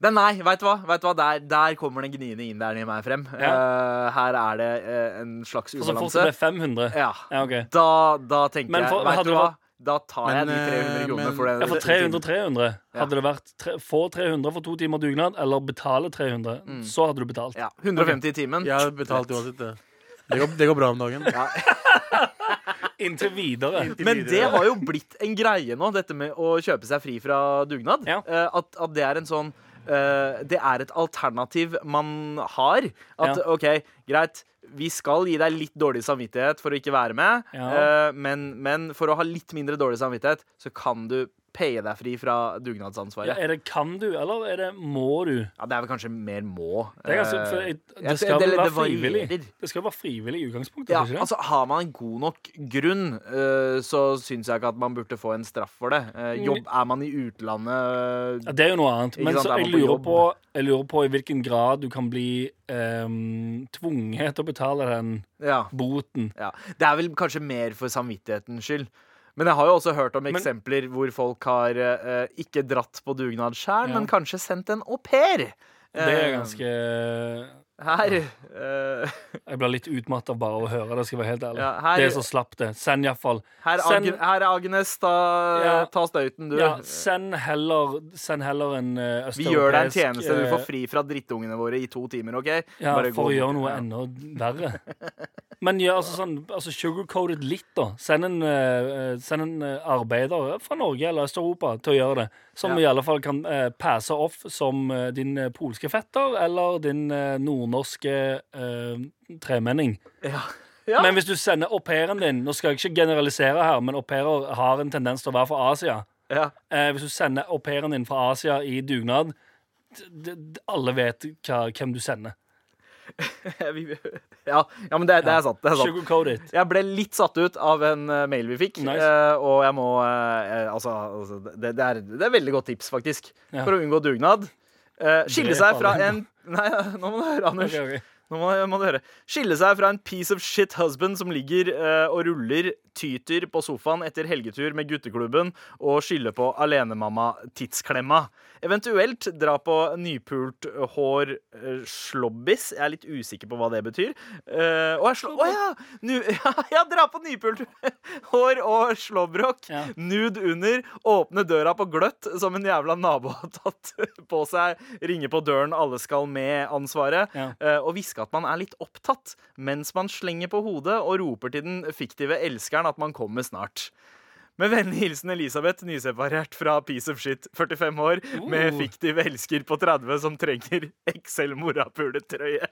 det, nei, veit du hva? Vet du hva? Der, der kommer den gniende inderen i meg frem. Eh, her er det eh, en slags
Og så fort det Altså,
ubalanse.
ble 500?
Ja.
Ja, OK.
Da, da tenker
Men for-
jeg Vet
hadde
du
det
hva?
vært-
Da tar jeg de
Men, eh,
300 kronene
men-
for det.
Ja, for 300-300.
Ja.
Hadde det vært tre, få 300 for to timer dugnad, eller betale 300, så hadde du betalt.
Mm. Ja, 150 i timen.
Jeg har betalt uansett, det. Det går, det går bra om dagen.
Inntil videre.
Men det har jo blitt en greie nå, dette med å kjøpe seg fri fra dugnad.
Ja.
Eh, at, at det er en sånn eh, Det er et alternativ man har. At
Ja.
OK, greit, vi skal gi deg litt dårlig samvittighet for å ikke være med,
Ja.
eh, men, men for å ha litt mindre dårlig samvittighet, så kan du paye deg fri fra dugnadsansvaret.
Ja,
Ja,
er det kan du, eller er det må du?
det er vel kanskje mer må.
Det, er ganske,
Eh,
for jeg,
jeg-
det skal
det-
vel
det
være
varierer.
frivillig. Det skal være frivillig i utgangspunktet.
ja,
skal ikke det?
altså Har man en god nok grunn, eh, så syns jeg ikke at man burde få en straff for det.
Mm.
Eh, jobb, er man i utlandet
ja, det er jo noe annet.
Ikke
Men
sant,
så
er
jeg
man på
lurer,
jobb?
på, jeg lurer på i hvilken grad du kan bli ehm, tvunget til å betale den
Ja.
boten.
Ja. Det er vel kanskje mer for samvittighetens skyld. Men jeg har jo også hørt om eksempler hvor folk har eh, ikke dratt på dugnad sjøl,
Ja.
men kanskje sendt en au pair.
Det er
Eh,
ganske
Her. eh,
Jeg blir litt utmatta bare av å høre det, skal jeg være helt ærlig.
Ja, her-
det er så slapp, det. Send iallfall.
her,
Send-
Ag her, Agnes, ta,
Ja.
ta støyten, du.
Ja, send heller, send heller en eh,
Vi gjør deg en
østeuropeisk,
tjeneste. Du
eh,
får fri fra drittungene våre i to timer, OK?
Ja,
Bare
for å
gå.
gjøre noe
Ja.
enda verre. Men ja, altså sånn altså sugarcoated litt, da. Send en, eh, eh, send en eh, arbeider fra Norge eller Øst-Europa til å gjøre det. Som
Ja.
i alle fall kan eh, passe off som eh, din eh, polske fetter eller din eh, nordnorske eh, tremenning.
Ja. Ja.
Men hvis du sender au pairen din Nå skal jeg ikke generalisere her, men au pairer har en tendens til å være fra Asia.
Ja.
Eh, hvis du sender au pairen din fra Asia i dugnad d- d- d- alle vet hva, hvem du sender.
Vi- ja, ja, men det, det er sant. Det er sant.
Sugarcoated.
Jeg ble litt satt ut av en eh, mail vi fikk,
Nice.
eh, og jeg må eh, eh, Altså, altså det, det, er, det er veldig godt tips, faktisk,
Ja.
for å unngå dugnad. Eh, skille
Drep
seg fra
alle.
en Nei, nå må du høre, Anders.
Ok, ok.
Nå må, må du høre. Skille seg fra en piece of shit husband som ligger eh, og ruller tyter på sofaen etter helgetur med gutteklubben, og skylde på alenemamma-tidsklemma. Eventuelt dra på nypult hår eh, slobbis. Jeg er litt usikker på hva det betyr. Eh, og jeg slå... Å ja! Nu, ja, ja, dra på nypult hår og slåbrok.
Ja.
Nude under, åpne døra på gløtt som en jævla nabo har tatt på seg, ringe på døren, alle skal med-ansvaret,
Ja.
eh, og hviske at man er litt opptatt mens man slenger på hodet og roper til den fiktive elskeren at man kommer snart. Med vennlig hilsen Elisabeth, nyseparert fra Piece of Shit, 45 år, med
Oh.
fiktiv elsker på 30 som trenger XL-morapuletrøye.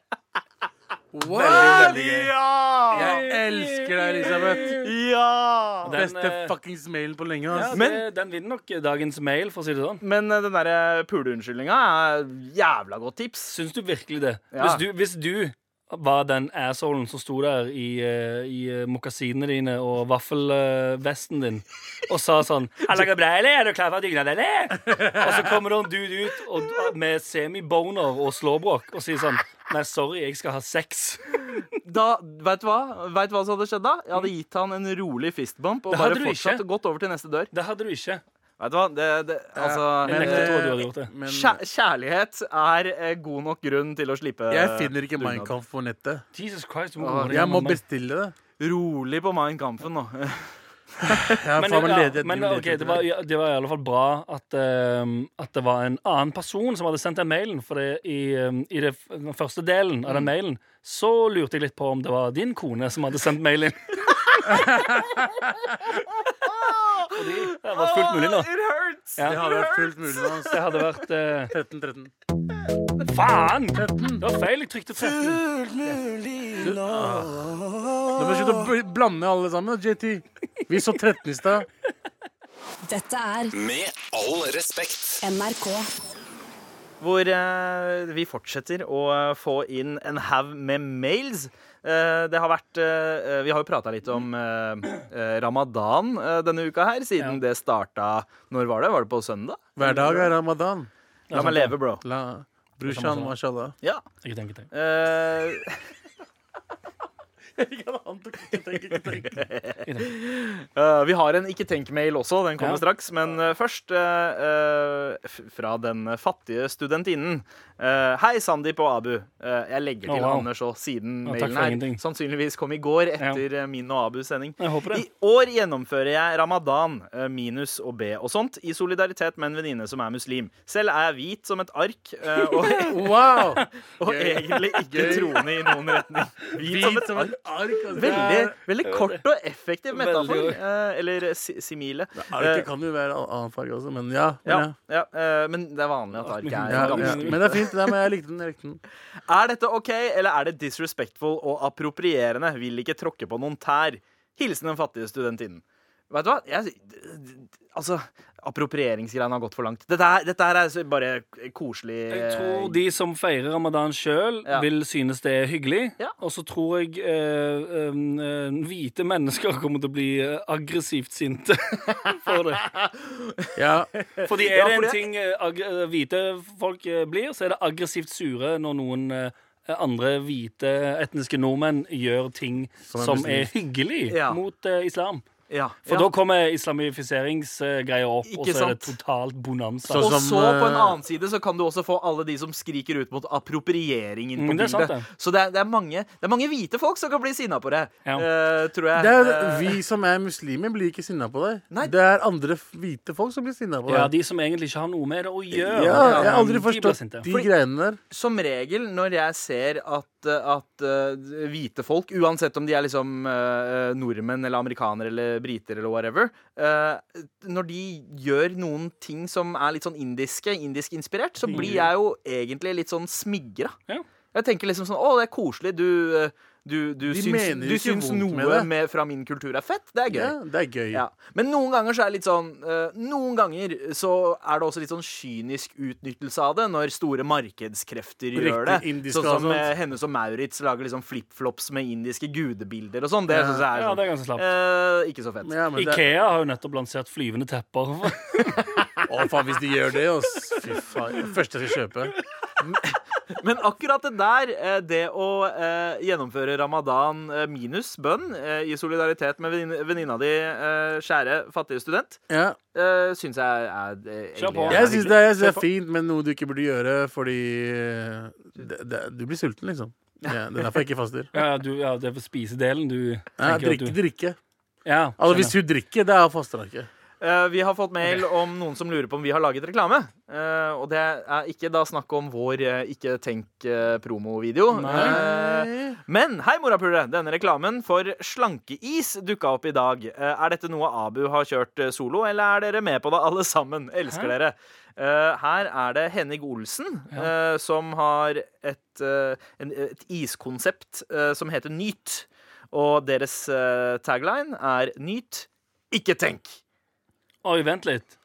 Veldig, veldig gøy.
Ja!
Jeg elsker deg, Elisabeth.
Ja!
Den,
Beste
eh,
fuckings mailen på lenge.
Ja,
ass.
Men-
det, den vinner nok dagens mail, for å si det sånn.
Men eh, den derre puleunnskyldninga er jævla godt tips.
Syns du virkelig det?
Ja.
Hvis, du, hvis du var den assholen som sto der i, eh, i eh, mokasinene dine og vaffelvesten din og sa sånn 'Er det bra, eller? Er du klar for dugnad, eller?' Og så kommer det en dude ut og, med semiboner og slåbrok og sier sånn 'Nei, sorry, jeg skal ha sex'.
Da, Veit du hva Vet du hva som hadde skjedd da? Jeg hadde gitt han en rolig
Mm.
fistbump og
Det
bare
hadde du
fortsatt
ikke.
gått over til neste dør.
Det hadde du ikke.
Vet du hva? Det, det, altså
Jeg
Men,
nekter å tro at du
eh,
hadde gjort det.
Men
kjær- Kjærlighet er eh, god nok grunn til å slippe
jeg finner ikke
dugnad.
Mein Kampf på nettet.
Jesus Christ, hvor
Åh,
går det
Jeg må
gjennom meg?
bestille det.
Rolig på Mein Kampfen nå.
Jeg er
Men,
faen meg
ja,
ledig.
men
Du
ok,
leter
det, var,
etter
ja, det var i alle fall bra at, ehm, at det var en annen person som hadde sendt den mailen. For det, i, ehm, i det, f- den første delen av den
Mm.
mailen så lurte jeg litt på om det var din kone som hadde sendt mailen. Fordi det var fullt mulig nå.
It hurt! hurts!
Det
Ja,
hadde vært fullt mulig med hans.
det hadde vært eh,
13, 13.
Faen! Det var feil. Jeg trykte 13.
Nå må du slutte å bl- blande alle sammen, da, JT. Vi så 13 i stad.
Dette er
Med all respekt.
NRK.
hvor eh, vi fortsetter å eh, få inn en haug med mails. Eh, det har vært eh, Vi har jo prata litt om eh, eh, ramadan eh, denne uka her, siden det starta Når var det? Var det på søndag?
Hver dag er ramadan.
La meg leve, bro.
La Brushan, mashallah.
Ja.
Ikke tenk, ikke tenk.
Eh, Eh, vi har en ikke tenk-mail også, den kommer
Ja.
straks. Men eh, først eh, eh, f- fra den fattige studentinnen. Eh, Hei, Sandeep og Abu. Eh, jeg legger
Å,
til
wow.
Anders og siden
Ja, takk
mailen
for
her.
ingenting.
Sannsynligvis kom i går etter eh, min og Abus sending.
Jeg håper det.
I år gjennomfører jeg ramadan, eh, minus og B og sånt, i solidaritet med en venninne som er muslim. Selv er jeg hvit som et ark, eh, og,
Wow!
og egentlig ikke troende i noen retning. Hvit som et ark. altså. Veldig, veldig kort og effektiv metafor.
Veldig.
eh, Eller si- simile. Eh,
Arket kan jo være annen farge også, men ja. Men, ja.
Ja, ja, eh, men det er vanlig at ark er
Ja, ja.
ganske
men det er fint. Nei, men jeg likte den. Jeg likte den.
Er dette OK, eller er det disrespectful og approprierende? Vil ikke tråkke på noen tær. Hilsen den fattige studentinnen. Vet du hva? Jeg, d- d- altså, approprieringsgreiene har gått for langt. Dette, her- dette her er så bare koselig
Jeg tror
eh,
de som feirer ramadan sjøl,
Ja.
vil synes det er hyggelig.
Ja.
Og så tror jeg eh, em, eh, hvite mennesker kommer til å bli eh, aggressivt sinte for det.
Ja.
Fordi er det
fordi
en
jeg-
ting eh, ag eh, hvite folk eh, blir, så er det aggressivt sure når noen eh, andre hvite etniske nordmenn gjør ting som
er
er, hyggelig
Ja.
mot eh, islam.
ja,
For da
ja.
kommer islamifiseringsgreier opp, og
Ikke
så er det
sant?
totalt bonanza.
Så-
Og
som,
så på en
eh,
annen side så kan du også få alle de som skriker ut mot appropriering inn på
Mm, det er sant,
bildet.
det.
Så det er, det, er mange, det er mange hvite folk som kan bli sinna på det,
Ja.
eh, tror jeg.
Det er,
Eh,
vi som er muslimer, blir ikke sinna på deg.
Nei.
Det er andre f- hvite folk som blir sinna på
ja,
deg.
de som egentlig ikke har noe med det å
Ja,
gjøre.
jeg har
de
aldri
blir
forstått
sinte.
de greiene der.
Som regel når jeg ser at, at eh, hvite folk, uansett om de er liksom eh, nordmenn eller amerikanere eller briter eller whatever, eh, når de gjør noen ting som er litt sånn indiske, indisk-inspirert, så
Mm.
blir jeg jo egentlig litt sånn smigra.
Ja.
Jeg tenker liksom sånn Å, det er koselig. Du, eh, du, du
De
syns,
mener
du
ikke
syns
vondt
noe
med
med
det.
fra min kultur er fett. Det er gøy.
Ja, det er gøy.
Ja. Men noen ganger så er det litt sånn eh, Noen ganger så er det også litt sånn kynisk utnyttelse av det, når store markedskrefter gjør det.
Riktig, indiske
sånn som
og sånt.
eh, Hennes og Maurits lager liksom flipflops med indiske gudebilder og sånn. Det
Ja.
synes jeg er,
Ja,
sånn,
det er ganske slapt.
eh, ikke så fett.
Men ja, men det,
Ikea har jo nettopp lansert flyvende tepper.
å, faen, hvis de gjør det, ass. Fy faen. Det første jeg skal kjøpe.
Men akkurat det der, eh, det å eh, gjennomføre ramadan eh, minus bønn eh, i solidaritet med vennin- venninna di, eh, kjære fattige student,
Ja.
uh, syns jeg er uh,
Kjør på.
Jeg syns det, er- jeg synes
Kjør
det
på.
er fint, men noe du ikke burde gjøre fordi eh, det, det, Du blir sulten, liksom. Ja, det er derfor jeg ikke faster.
Ja, du, ja, det er for spisedelen du
Ja,
tenker
drikke,
at du
drikke.
ja,
Altså,
skjønner.
hvis hun drikker, det er faster hun ikke.
Eh, vi har fått mail om noen som lurer på om vi har laget reklame. Eh, og det er ikke da snakk om vår eh, Ikke tenk-promovideo. Eh,
Mm.
men hei, morapulere! Denne reklamen for slankeis dukka opp i dag. Eh, er dette noe Abu har kjørt eh, solo, eller er dere med på det alle sammen? Elsker dere. Eh, her er det Henning Olsen eh, som har et, eh, en, et iskonsept eh, som heter Nyt. Og deres eh, tagline er Nyt, ikke tenk.
Oi, vent litt.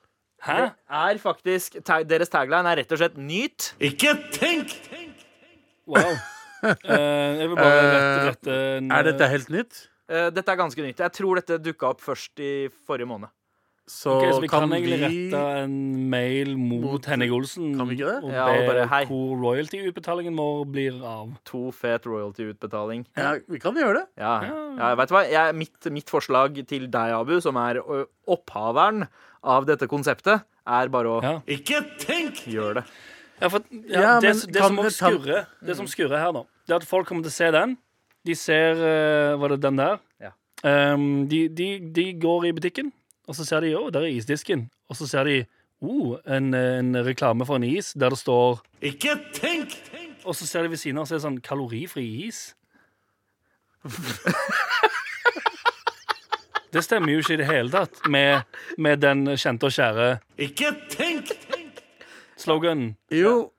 Hæ?
Det er faktisk ta- Deres tagline er rett og slett 'nyt'.
Wow. Eh, jeg vil bare rette, rette en,
Er dette helt nytt?
Eh, Dette er ganske nytt. Jeg tror dette dukka opp først i forrige måned.
Så,
Ok, så vi kan,
kan vi
egentlig rette en mail mot,
Mot-
Henning Olsen
Kan vi ikke det?
og
Ja,
be
og bare, hei.
hvor royalty-utbetalingen vår blir av.
To fet royalty-utbetaling.
Ja, vi kan gjøre det.
Ja, ja vet du hva? Jeg, mitt, mitt forslag til deg, Abu, som er ø, opphaveren av dette konseptet, er bare å
Ja.
gjøre det.
Ja, for, ja,
Ja,
det,
men
det,
kan mm.
som
det
også
ta-
skurrer, det som skurrer her, da, det er at folk kommer til å se den. De ser eh, Var det den der?
Ja.
Ehm, de, de, de går i butikken, og så ser de Å, der er isdisken. Og så ser de oh, en, en reklame for en is der det står Ikke tenk! Og så ser de ved siden av og så er det sånn kalorifri is. Det stemmer jo ikke i det hele tatt med, med den kjente og kjære
Ikke tenk!
sloganen.
Jo.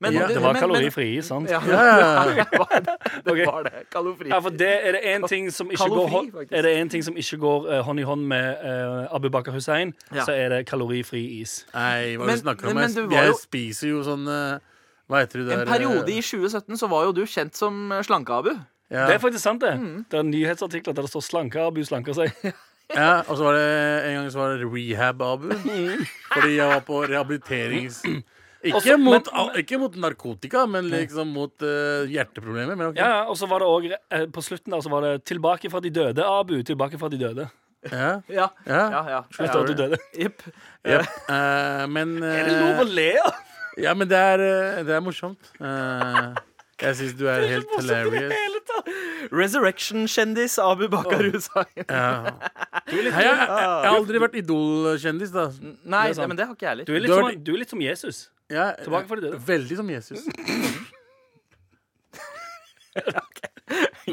Men,
Ja,
Det var
men- men-
kalorifri, sant?
Ja,
Ja.
det var det.
Ok.
det, var det. Kalorifri.
Ja, for det er det én ting som ikke går,
Kalorifri,
hå-
faktisk.
er det en ting som ikke går eh, hånd i hånd med eh, Abu Bakar Hussein,
Ja.
så er det kalorifri is.
Nei, hva er det
Men-
du snakker
men-
om?
men
Jeg,
du var
jeg
jo-
spiser jo sånn eh, Hva heter det der
En
eh,
periode i 2017 så var jo du kjent som eh, Slanke-Abu.
ja,
Det er faktisk sant, det. Det er nyhetsartikler der det står 'slanker Abu slanker seg'.
ja, Og så var det en gang så var det rehab-abu. Fordi jeg var på rehabiliterings... Ikke,
Også- men-
mot, au- ikke mot narkotika, men liksom mot eh, hjerteproblemer. Men ok.
Ja, ja, og så var det også, eh, På slutten der så var det 'tilbake fra de døde, Abu'. Tilbake fra de døde.
Ja.
Ja,
Ja.
ja, ja.
Slutt at du døde.
Jepp.
Jep. Eh, men
Er det lov å
eh,
le av?
Ja, men det er, eh, det er morsomt. Eh, jeg syns du er helt hilarious.
Resurrection-kjendis Abu Bakar Hussein.
Ja. Hei, jeg, jeg, jeg har aldri vært Idol-kjendis, da.
Nei,
Det er sant.
nei, men det har ikke jeg heller.
Du er litt,
Du har
som, du er litt som Jesus.
Jeg,
Tilbake for det, da.
Veldig som Jesus.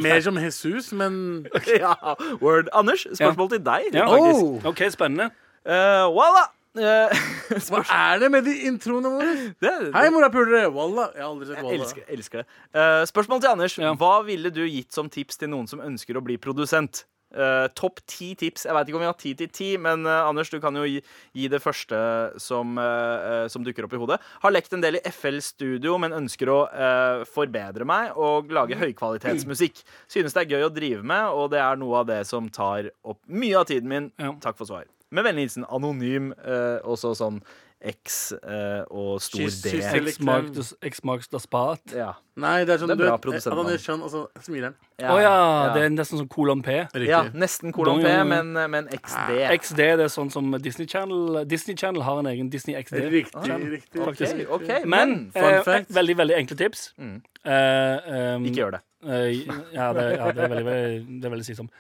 Mer som Jesus, men
Ja, word. Anders, spørsmål til deg.
Ja,
Oh!
faktisk. OK, spennende.
Eh, voila! Eh,
Hva
spørsmål.
er det med de introene våre?
Det,
Hei, morapulere! Walla. Jeg har aldri sett
jeg
Walla.
elsker, elsker det. Eh, spørsmål til Anders. Hva ville du gitt som tips til noen som ønsker å bli produsent? Eh, Topp ti tips. Jeg veit ikke om vi har ti til ti, men eh, Anders, du kan jo gi, gi det første som, eh, eh, som dukker opp i hodet. Har lekt en del i FL Studio, men ønsker å eh, forbedre meg og lage høykvalitetsmusikk. Synes det er gøy å drive med, og det er noe av det som tar opp mye av tiden min.
Ja.
Takk for svar. Med vennlig hilsen anonym, eh, og så sånn X eh, og stor
Kyss-
D.
kyss til-
um, Eksmaks da spat.
Ja.
Nei, det er sånn
Det er
du
bra
vet,
produsent,
Adam
mann.
Nesjan, og så smiler han.
Å ja, Det er nesten som kolon P.
Ja,
Riktig.
nesten kolon P,
Dong.
men, eh, men XD.
XD det er sånn som Disney Channel Disney Channel har en egen Disney XD.
Riktig, riktig.
Ok, ok,
Men
men Mm.
Fun
eh,
fact.
veldig veldig enkle tips. Eh, um,
Ikke gjør det.
eh, ja, det, ja, det er veldig, veldig, det er veldig slitsomt.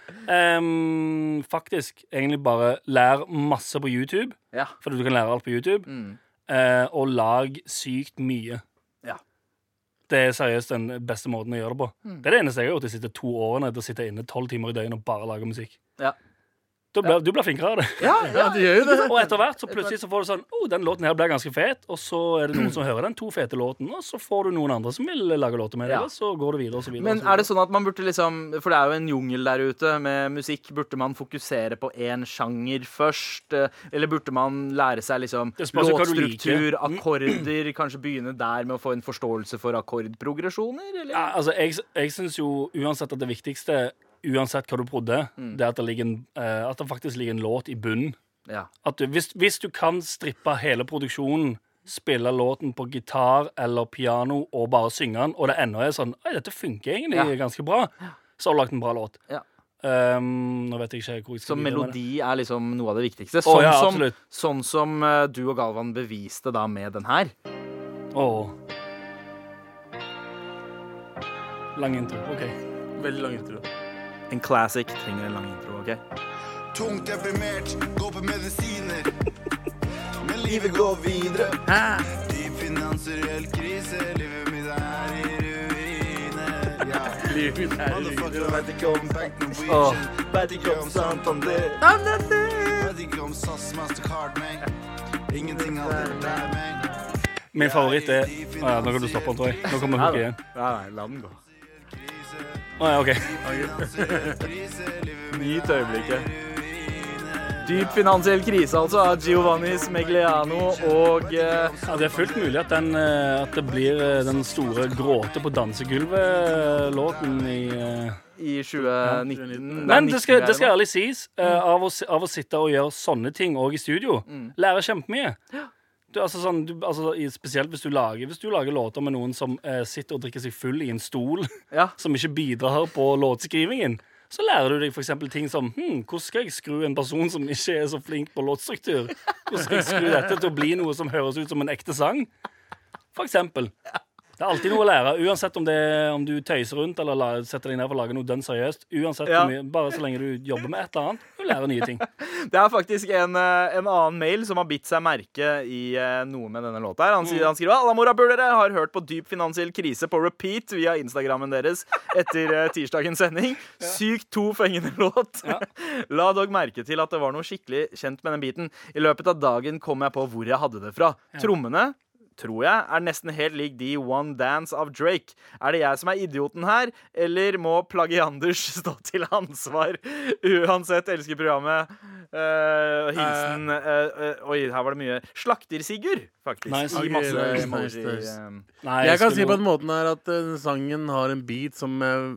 Em, faktisk, egentlig bare lær masse på YouTube,
Ja.
fordi du kan lære alt på YouTube,
Mm.
eh, og lag sykt mye.
Ja.
Det er seriøst den beste måten å gjøre det på.
Mm.
Det er det eneste jeg har gjort de siste to årene, til å sitte inne tolv timer i døgnet og bare lage musikk.
Ja.
Du blir, du blir flinkere av det.
Ja,
Ja, det gjør jo det.
Og etter hvert så plutselig så får du sånn Å, den låten her ble ganske fet. Og så er det noen som hører den to fete låten, og så får du noen andre som vil lage låter med deg.
Ja.
Og så går du videre, og så videre.
Men er det sånn at man burde liksom For det er jo en jungel der ute med musikk. Burde man fokusere på én sjanger først? eh, Eller burde man lære seg liksom
Det spørs jo hva du
låtstruktur, akkorder? Kanskje begynne der med å få en forståelse for akkordprogresjoner? Eller?
ja, Altså, jeg, jeg syns jo uansett at det viktigste, uansett hva du prodde,
Mm.
det er at det, ligger en, eh, at det faktisk ligger en låt i bunnen.
Ja.
At du, hvis, hvis du kan strippe hele produksjonen, spille låten på gitar eller piano og bare synge den, og det ennå er sånn Oi, dette funker egentlig
Ja.
ganske bra, så har du lagd en bra låt.
Ja.
Um, nå vet jeg ikke hvor jeg skal
Så
videre med det.
melodi er liksom noe av det viktigste.
Å,
Sånn,
ja,
som,
absolutt.
sånn som eh, du og Galvan beviste da med den her.
Åh. Lang intro. OK.
Veldig lang intro.
En classic trenger en lang intro. ok?
Tungt deprimert, gå på medisiner. Men livet går videre. Dyp finansiell krise, livet mitt er i ruiner. Ja.
Livet er
Motherfucker, vet ikke om bank
Åh.
Norwegian. Vet ikke om Santander. Vet ikke om SAS Mastercard, meg. Ingenting av det der, meg.
Min favoritt er Å ja, nå kan du stoppe den, tror jeg. Nå kommer hooket igjen.
Ja, nei, la den gå.
Å ja, OK.
Nyt øyeblikket. Dyp finansiell krise, altså, av Giovanni Smegliano og eh,
Ja, det er fullt mulig at, den, eh, at det blir eh, den store gråte på dansegulvet-låten i eh.
i 2019.
Men det skal,
er
det skal
nå.
ærlig sies, eh, av, å, si- av å sitte og gjøre sånne ting òg i studio, lærer kjempemye. Du, altså sånn, du, altså, i- spesielt hvis du, lager, hvis du lager låter med noen som eh, sitter og drikker seg full i en stol.
Ja.
som ikke bidrar på låtskrivingen, så lærer du deg for eksempel ting som hm, Hvordan skal jeg skru en person som ikke er så flink på låtstruktur? Hvordan skal jeg skru dette til å bli noe som høres ut som en ekte sang? For eksempel. Det er alltid noe å lære, uansett om, det, om du tøyser rundt eller la, setter deg ned for å lage noe dønn seriøst. Uansett
Ja.
hvor mye, Bare så lenge du jobber med et eller annet, du lærer nye ting.
Det er faktisk en, eh, en annen mail som har bitt seg merke i eh, noe med denne låta. her. Han, sier, han skriver «Alla morapulere har hørt på dyp finansiell krise på repeat via Instagrammen deres etter eh, tirsdagens sending. Sykt to fengende låt. La dog merke til at det var noe skikkelig kjent med den biten. I løpet av dagen kom jeg på hvor jeg hadde det fra. Trommene tror jeg, er nesten helt lik de One Dance av Drake. Er det jeg som er idioten her, eller må plagianders stå til ansvar? Uansett, elsker programmet. Eh, hilsen eh, eh, Oi, her var det mye. Slakter-Sigurd, faktisk.
Nice.
I
Ok,
masse
nice,
emoji.
nice, nice.
eh,
Nei,
Jeg kan si
skulle-
på den måten her at eh, sangen har en beat som eh,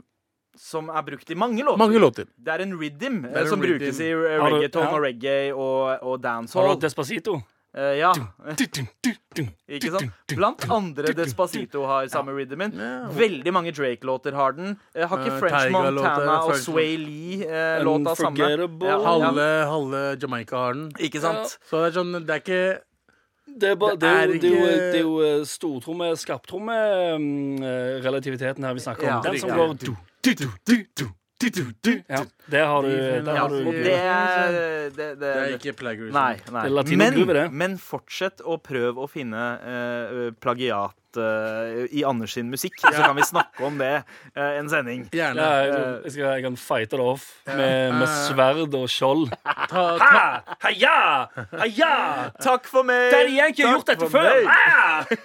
Som er brukt i mange låter.
Mange låter.
Det er en rhythm eh,
er en
som
rhythm.
brukes i eh,
Har du-
reggaeton
ja.
og reggae og, og
Har du
dancehall.
hatt Despacito?
Eh, ja,
Du, du, du, du,
ikke
du,
sant?
du,
Blant andre
du, du,
Despacito har samme rhythmen.
Ja.
Veldig mange Drake-låter har den. Eh, Har ikke
Eh,
French
Tyga-låter,
Montana og
French-
Sway Lee-låta samme?
Unforgettable.
Halve, halve Jamaica har den.
Ikke sant?
Så det er sånn Det er ikke
Det er, bare, det
Det
er, jo-
er
det er jo,
ikke-
det er jo eh, stortromme, skarptromme mm, eh, Relativiteten her vi snakker om.
Ja,
Den som
riktig.
går du, du, du, du, du, du, du, du. Ja, der har du, der
Ja,
har
og
du
det,
Det
er- det, det,
Det er ikke plagiarism.
Nei. nei.
Det er latino groove, det.
Men, men fortsett å prøve å finne eh, plagiat eh, i Anders sin musikk, så kan vi snakke om det eh, en sending.
Gjerne.
Ja, jeg, jeg, skal, jeg kan fighte det off med, med sverd og skjold.
Ta, ta.
Heia! Heia!
Takk for meg!
Daddy Yankee har
Takk
gjort dette
for meg!
før! Ah!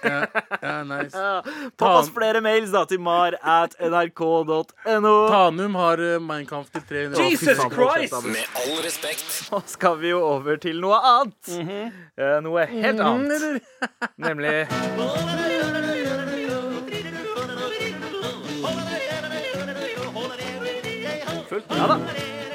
Ja, nice.
Ja. Ta oss flere mails da til mar at nrk.no.
Tanum har eh, Mein Kampf til 300 Å, fy
Jesus
faen.
Christ!
Med all respekt.
Nå skal vi jo over til noe annet. Eh, noe helt annet. Nemlig Ja da.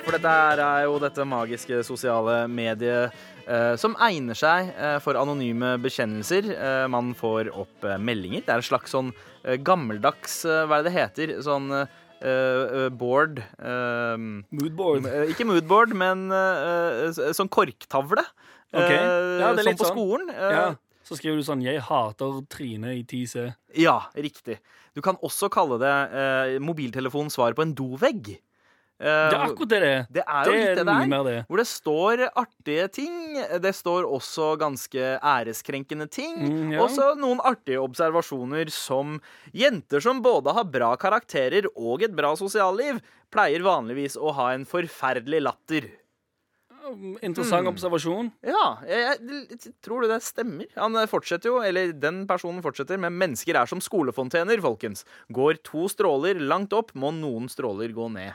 For dette her er jo dette magiske sosiale mediet eh, som egner seg eh, for anonyme bekjennelser. Eh, man får opp eh, meldinger. Det er en slags sånn eh, gammeldags eh, Hva er det det heter? Sånn eh, eh, board eh,
Moodboard.
Eh, Ikke moodboard, men eh, eh, s- sånn korktavle. Eh,
Ok. Ja, det er
sånn
litt
på
sånn.
skolen. Eh,
Ja. Så skriver du sånn 'Jeg hater Trine i 10C'.
ja, riktig. Du kan også kalle det eh, mobiltelefonens svar på en dovegg. Eh,
Det er akkurat det det er.
det er jo
Det
litt
er
det
mye
der.
mer det.
Hvor det står artige ting. Det står også ganske æreskrenkende ting.
Mm, ja.
Og så noen artige observasjoner som jenter som både har bra karakterer og et bra sosialliv, pleier vanligvis å ha en forferdelig latter. Mm.
Interessant observasjon.
Ja, jeg, jeg, tror du det stemmer? Han fortsetter jo, eller den personen fortsetter, men mennesker er som skolefontener, folkens. Går to stråler langt opp, må noen stråler gå ned.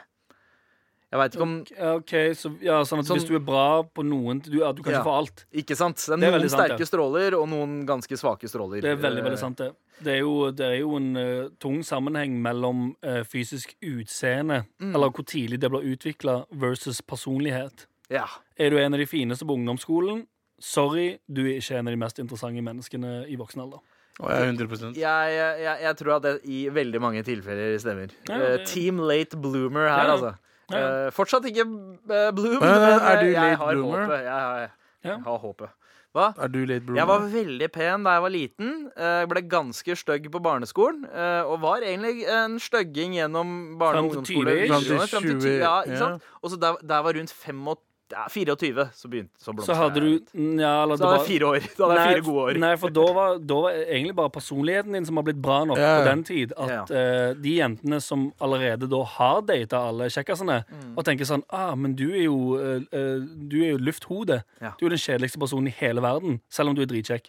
Jeg veit ikke om
Ja, Ok, så, ja, sånn at
Sånn-
Hvis du er bra på noen du, ja, du kan
Ja.
ikke få alt.
Ikke sant? Det er
Det er
noen
veldig sant,
sterke
ja.
stråler og noen ganske svake stråler.
Det er veldig
Eh,
veldig sant, det. Det er jo, det er jo en eh, tung sammenheng mellom eh, fysisk utseende,
Mm.
eller hvor tidlig det blir utvikla, versus personlighet.
Ja.
Er du en av de fineste på ungdomsskolen? Sorry, du er ikke en av de mest interessante menneskene i voksen alder.
Å, jeg er 100
Jeg, jeg, jeg tror at det i veldig mange tilfeller stemmer.
Ja, det-
Eh, Team late bloomer her,
Ja, ja.
altså.
Ja, ja.
Eh, fortsatt ikke eh, bloom,
Men,
men
er du
eh, jeg
late
har
bloomer?
håpet. Jeg har,
Ja.
jeg har håpet. Hva?
Er du late, bro?
Jeg
Mm.
var veldig pen da jeg var liten. Eh, Jeg ble ganske stygg på barneskolen. eh, Og var egentlig en stygging gjennom barne- og
Fram til 20-ish.
ungdomsskole.
Fram til
videregående, fram til
20,
20, Ja, ikke
ja.
sant? Og så da da jeg var rundt 25, ja, 24, så begynte så
Så
blomstra
hadde du Nja, eller
Så hadde jeg fire år. Da hadde jeg fire gode år.
Nei, for da var, da var egentlig bare personligheten din som har blitt bra nok
Ja,
på
ja.
den tid. At
Ja,
eh, de jentene som allerede da har data alle kjekkasene, og tenker sånn ah, men du er jo, eh, eh, du er jo lufthode.
Ja.
Du er den kjedeligste personen i hele verden, selv om du er dritkjekk.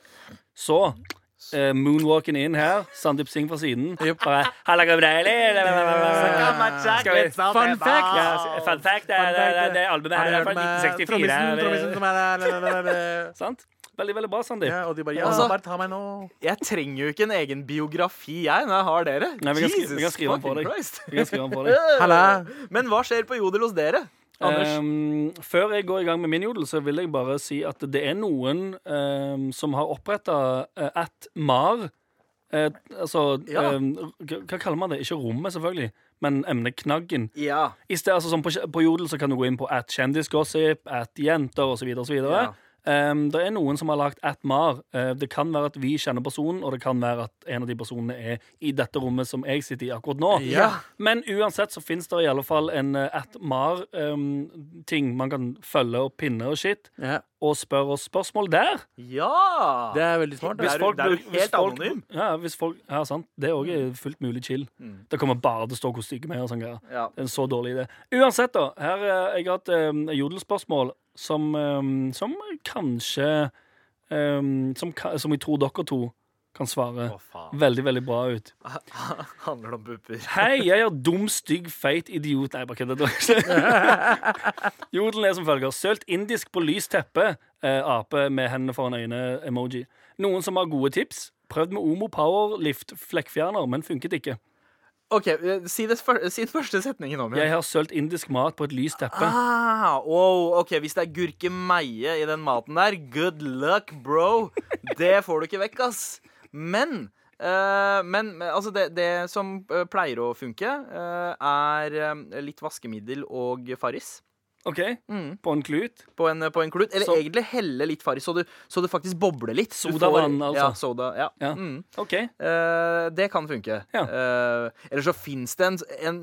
Så eh, moonwalking inn her, Sandeep Singh fra siden. Bare, Halla, Gabrieli! Skal vi-
Fun fact!
Ja, Fun fact, det, det, det, det albumet her er fra 1964.
Trommisen, trommisen som er der la, la, la, la.
Sant? Veldig, veldig bra, Sandeep.
Ja, og de bare Ja,
Altså-
bare ta meg nå.
Jeg trenger jo ikke en egen biografi, jeg, når jeg har dere.
Nei, vi kan, skri-
Jesus
vi kan skrive den for
fucking
deg.
Christ.
Vi kan skrive den for deg.
Halla.
Men hva skjer på Jodel hos dere? Anders?
Ehm, før jeg går i gang med min jodel, så vil jeg bare si at det er noen ehm, som har oppretta at mar eh, Altså
Ja.
ehm, hva hva kaller man det? Ikke rommet, selvfølgelig, men emnet knaggen.
Ja.
I sted, altså, sånn på, på jodel så kan du gå inn på at kjendisgossip, at jenter osv.
Ja.
Ehm, det er noen som har lagt Atmar. Eh, det kan være at vi kjenner personen, og det kan være at en av de personene er i dette rommet som jeg sitter i akkurat nå.
Ja.
Men uansett så fins det i alle fall en eh, Atmar-ting man kan følge og pinne og shit,
Ja.
og spørre oss spørsmål der.
Ja!
Det er veldig smart.
Det
Det.
er, folk, det er
blir-
helt
folk-
anonym.
Ja, hvis folk, ja, sant. Det er òg fullt mulig chill.
Mm.
Det kommer bare til å stå hvor stygge vi er. og sånn greier.
Ja.
Det er en så dårlig idé. Uansett, da. Her eh, jeg har et um, jodelspørsmål som, eh, som kanskje eh, som, ka- som jeg tror dere to kan svare
Å, faen.
veldig, veldig bra ut.
Handler det om pupper?
Hei, jeg er dum, stygg, feit idiot Nei, bare kødder. det var ikke- Jodelen er som følger. Sølt indisk på lys teppe. Eh, ape med hendene foran øynene-emoji. Noen som har gode tips? Prøvd med Omo Power Lift flekkfjerner, men funket ikke.
OK, eh, si, det, fyr- si den første setningen om
Jeg
igjen.
har sølt indisk mat på et lys teppe.
Ah, wow, ok, Hvis det er gurkemeie i den maten der, good luck, bro. Det får du ikke vekk, ass. Men eh, men men, altså det, det som eh, pleier å funke, eh, er eh, litt vaskemiddel og Farris
OK?
Mm.
På en klut.
på en, på en klut. Eller
Så-
egentlig helle litt Farris, så, du- så det faktisk bobler litt. Du
Sodavann,
får-
altså.
Ja, soda, ja.
Ja.
Mm.
OK.
Eh, det kan funke.
Ja.
Eh, eller så fins det en, en,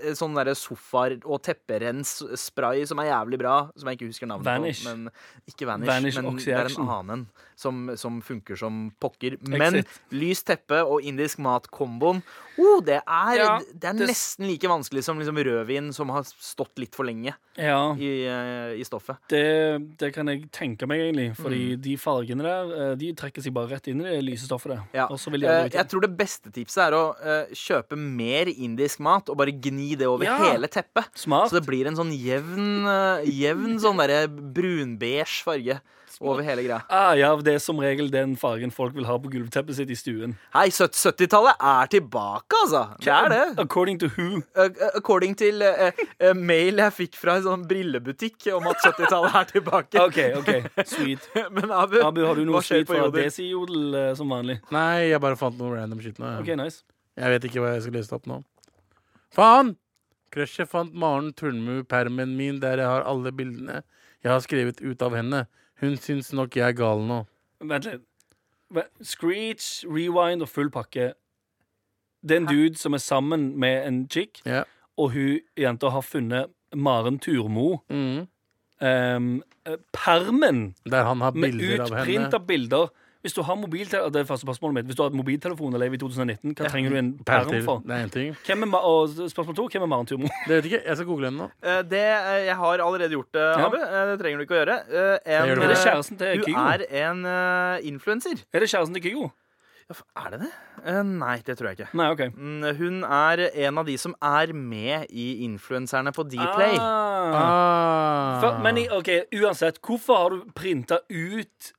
en sånn derre sofaer- og tepperens-spray som er jævlig bra, som jeg ikke husker navnet
Vanish.
på. Men, ikke Vanish,
Vanish
men det er
Oxyaction.
en annen som, som funker som pokker. Men lys teppe og indisk mat-komboen, oh, det er,
Ja,
det er
det-
nesten like vanskelig som liksom rødvin som har stått litt for lenge
Ja,
i, eh, i stoffet.
det, det kan jeg tenke meg, egentlig. Fordi
Mm.
de fargene der, eh, de trekker seg bare rett inn i det lyse stoffet der.
Ja.
Og så vil de aldri
Eh,
ut
jeg
igjen.
tror det beste tipset er å eh, kjøpe mer indisk mat og bare gni det over
Ja.
hele teppet.
Smart.
Så det blir en sånn jevn, eh, jevn sånn derre brunbeige farge over hele greia.
Ah, ja, det er som regel den fargen folk vil ha på gulvteppet sitt i stuen.
Hei, 70-tallet er tilbake, altså! Det er det.
According to who?
Uh, According til eh, eh, mail jeg fikk fra en sånn brillebutikk om at 70-tallet er tilbake.
OK, ok, sweet.
Men Abu,
Abu, har du noe
hva skjer
sweet
på
fra
jodel?
Desi-jodel eh, som vanlig?
Nei, jeg bare fant noe random shit nå. jeg.
OK, nice.
Jeg vet ikke hva jeg skal lese opp nå. Faen! Crushet fant Maren Turnmu-permen min der jeg har alle bildene jeg har skrevet ut av henne. Hun syns nok jeg er gal nå.
Vent litt. Ve- Screech, rewind og full pakke. Det er en dude som er sammen med en chick,
Ja.
og hun jenta har funnet Maren Turmo.
Mhm.
ehm, eh, permen
Der han har
med
bilder av
utprint
henne.
av bilder. Hvis du har mobiltelefon Det er første spørsmålet mitt Hvis du har et mobiltelefon og lever i 2019, hva trenger du en
Per
perm
til.
for?
Det er en ting.
Hvem er Ma og spørsmål to hvem er Maren Turmo?
Det vet jeg ikke. Jeg skal google henne nå.
Eh, det, eh, jeg har allerede gjort det,
Ja.
Abu. Eh, det trenger du ikke å gjøre. Eh, en,
gjør du
Er det
Eh,
kjæresten
eh,
til
du
Kygo?
er en uh, influenser.
Er det kjæresten til Kygo?
Er det det? Eh, nei, det tror jeg ikke.
Nei, OK.
Mm, Hun er en av de som er med i influenserne på Dplay.
Ah. For,
Ah.
men i- ok, uansett, hvorfor har du printa ut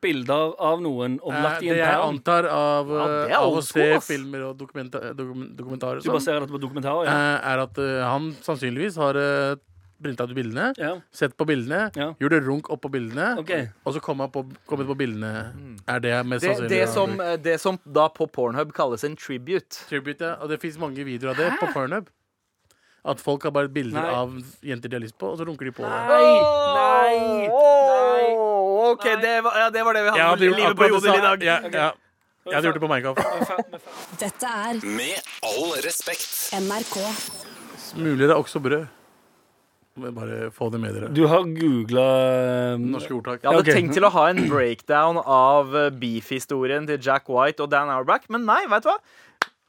bilder av noen og
Eh,
lagt i
det
en
jeg
perm?
antar av,
Ja, det er
eh, av
old
å
school,
se
ass.
filmer og dokumenta dokum- dokumentarer og
Du
sånn,
baserer dette på dokumentarer? Ja.
eh, er at eh, han sannsynligvis har uh, printa ut bildene.
ja.
Sett på bildene,
Ja.
gjorde runk oppå bildene,
Ok.
og så kom jeg på, kom jeg på bildene. Er det
Mm.
mest
Det,
sannsynlig?
det, som, eh, det som da på Pornhub kalles en tribute.
Tribute, ja. Og det fins mange videoer av det på Pornhub. At folk har bare bilder
Nei.
av jenter de har lyst på, og så runker de på.
Nei, nei, nei.
Åh, OK,
Nei.
det var, ja, det var det vi
Jeg
hadde
hadde
for
gjort
livet på
akkurat det
jodel i
samme.
dag.
Ja, ja. Jeg hadde gjort det på Minecraft.
Vi er ferdig, vi er ferdig.
Dette er
Med all respekt.
NRK.
Smuler er også brød. Men bare få det med dere.
Du har ehm, googla
Norske ordtak.
Jeg hadde
ok.
tenkt til å ha en breakdown av eh, beef-historien til Jack White og Dan Auerbach, men nei, vet du hva?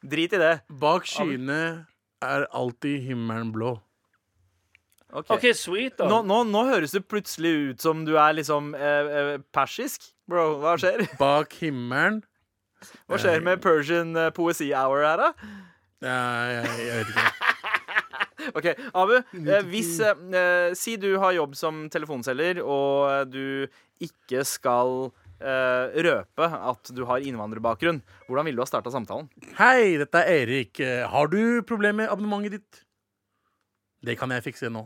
Drit i det.
Bak skyene er alltid himmelen blå.
Ok.
OK, sweet, da.
Nå, nå, nå høres du plutselig ut som du er liksom eh, eh, persisk. Bro, hva skjer?
Bak himmelen
Hva skjer med Persian eh, Poesi Hour her, da?
Nei, jeg, jeg vet ikke.
Ok, Abu, eh, hvis eh, eh, Si du har jobb som telefonselger, og eh, du ikke skal eh, røpe at du har innvandrerbakgrunn. Hvordan ville du ha starta samtalen?
Hei, dette er Erik. Eh, Har du problemer med abonnementet ditt? Det kan jeg fikse nå.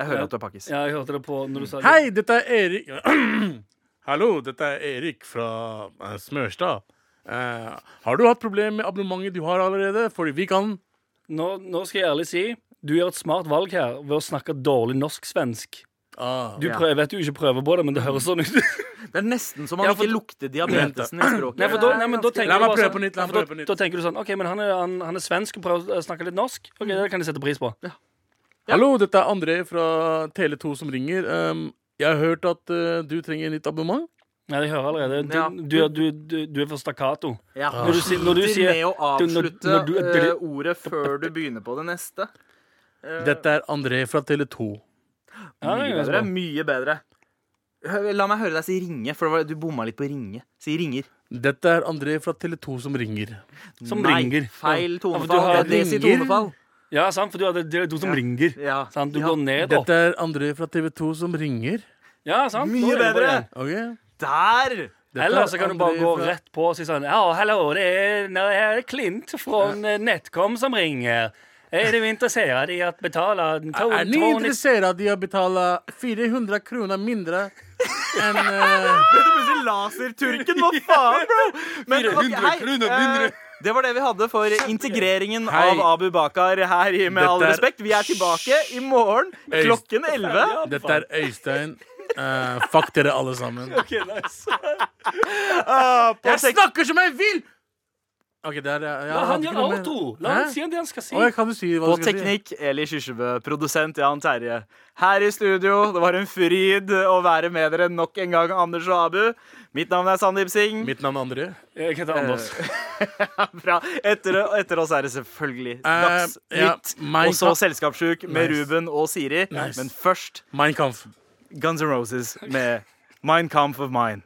Jeg hører at du er pakkis.
Ja, jeg hørte det på når du sa
Hei, dette er Erik Hallo, dette er Erik fra eh, Smørstad. Eh, har du hatt problemer med abonnementet du har allerede? Fordi vi kan
Nå, nå skal jeg ærlig si du gjør et smart valg her ved å snakke dårlig norsk-svensk.
Ah.
Du
Ja.
prøver, jeg vet du ikke prøver på det, men det høres sånn ut.
Det er nesten så man
Ja, for-
ikke lukter diabetesen i språket.
Nei, for da, nei, men da tenker
La
du
meg
bare
prøve
sånn-
på nytt, la meg
for da-
prøve på nytt.
Da tenker du sånn OK, men han er, han, han er svensk og prøver å eh, snakke litt norsk. Ok,
Mm.
Det kan jeg sette pris på.
Hallo, dette er André fra Tele2 som ringer. Um, jeg har hørt at uh, du trenger nytt abonnement.
Nei, jeg hører allerede. Du,
Ja.
du, du, du, du er for stakkato.
ja.
Når du, sier- når du
Slutter med
sier
å avslutte
når du-
eh, ordet før du begynner på det neste. Eh,
Dette er André fra Tele2.
Ja, det er sånn.
Mye
ganske
bedre.
bra.
Mye bedre. Hø- La meg høre deg si ringe, for det var- du bomma litt på ringe. Si ringer.
Dette er André fra Tele2 som ringer.
Som
Nei,
ringer.
Feil
for
tonefall.
du har-
det er desi
ringer.
tonefall.
Ja, sant, for du hadde det er du som ringer.
Ja.
Sant? Du
Ja.
går ned opp.
Dette er André fra TV2 som ringer.
Ja, sant?
Mye
Da er det bare
bedre.
det.
Ok?
Der!
Dette
Eller
er
så kan du bare
André
gå
fra-
rett på og si sånn Ja, hallo, det er, nå er det Klint fra Netcom som ringer. Er du interessert i å betale to-
Er ni
290
interessert i å betale 400 kroner mindre enn uh,
Dette ble så laserturken, hva faen, bro? Men, ok,
400
hei,
kroner
eh,
mindre.
Det var det vi hadde for integreringen
Hei.
av Abu Bakar her i Med
Dette
all
er-
respekt. Vi er tilbake i morgen
Øyst-
klokken 11.
Dette er Øystein. Eh, fuck dere alle sammen. altså.» Jeg snakker som jeg vil! Ok, der, ja,
La han gjøre
gjør
outro! La han si det han skal si.
Å, jeg kan jo si hva
På
du skal si.
teknikk, Eli Kyrkjebø. Produsent, Jan Terje. Her i studio, det var en fryd å være med dere nok en gang, Anders og Abu. Mitt navn er Sandeep Singh.
Mitt navn er André.
Jeg heter
Eh,
Anders.
Bra. Etter, etter oss er det selvfølgelig
Eh,
Dagsnytt.
ja, Mein
og så
Kampf.
Selskapssjuk med
Nice.
Ruben og Siri.
Nice.
Men først
Mein Kampf.
Guns N' Roses med Mein Kampf of Mine.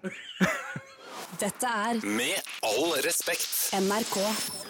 Dette er
Med all respekt.
NRK.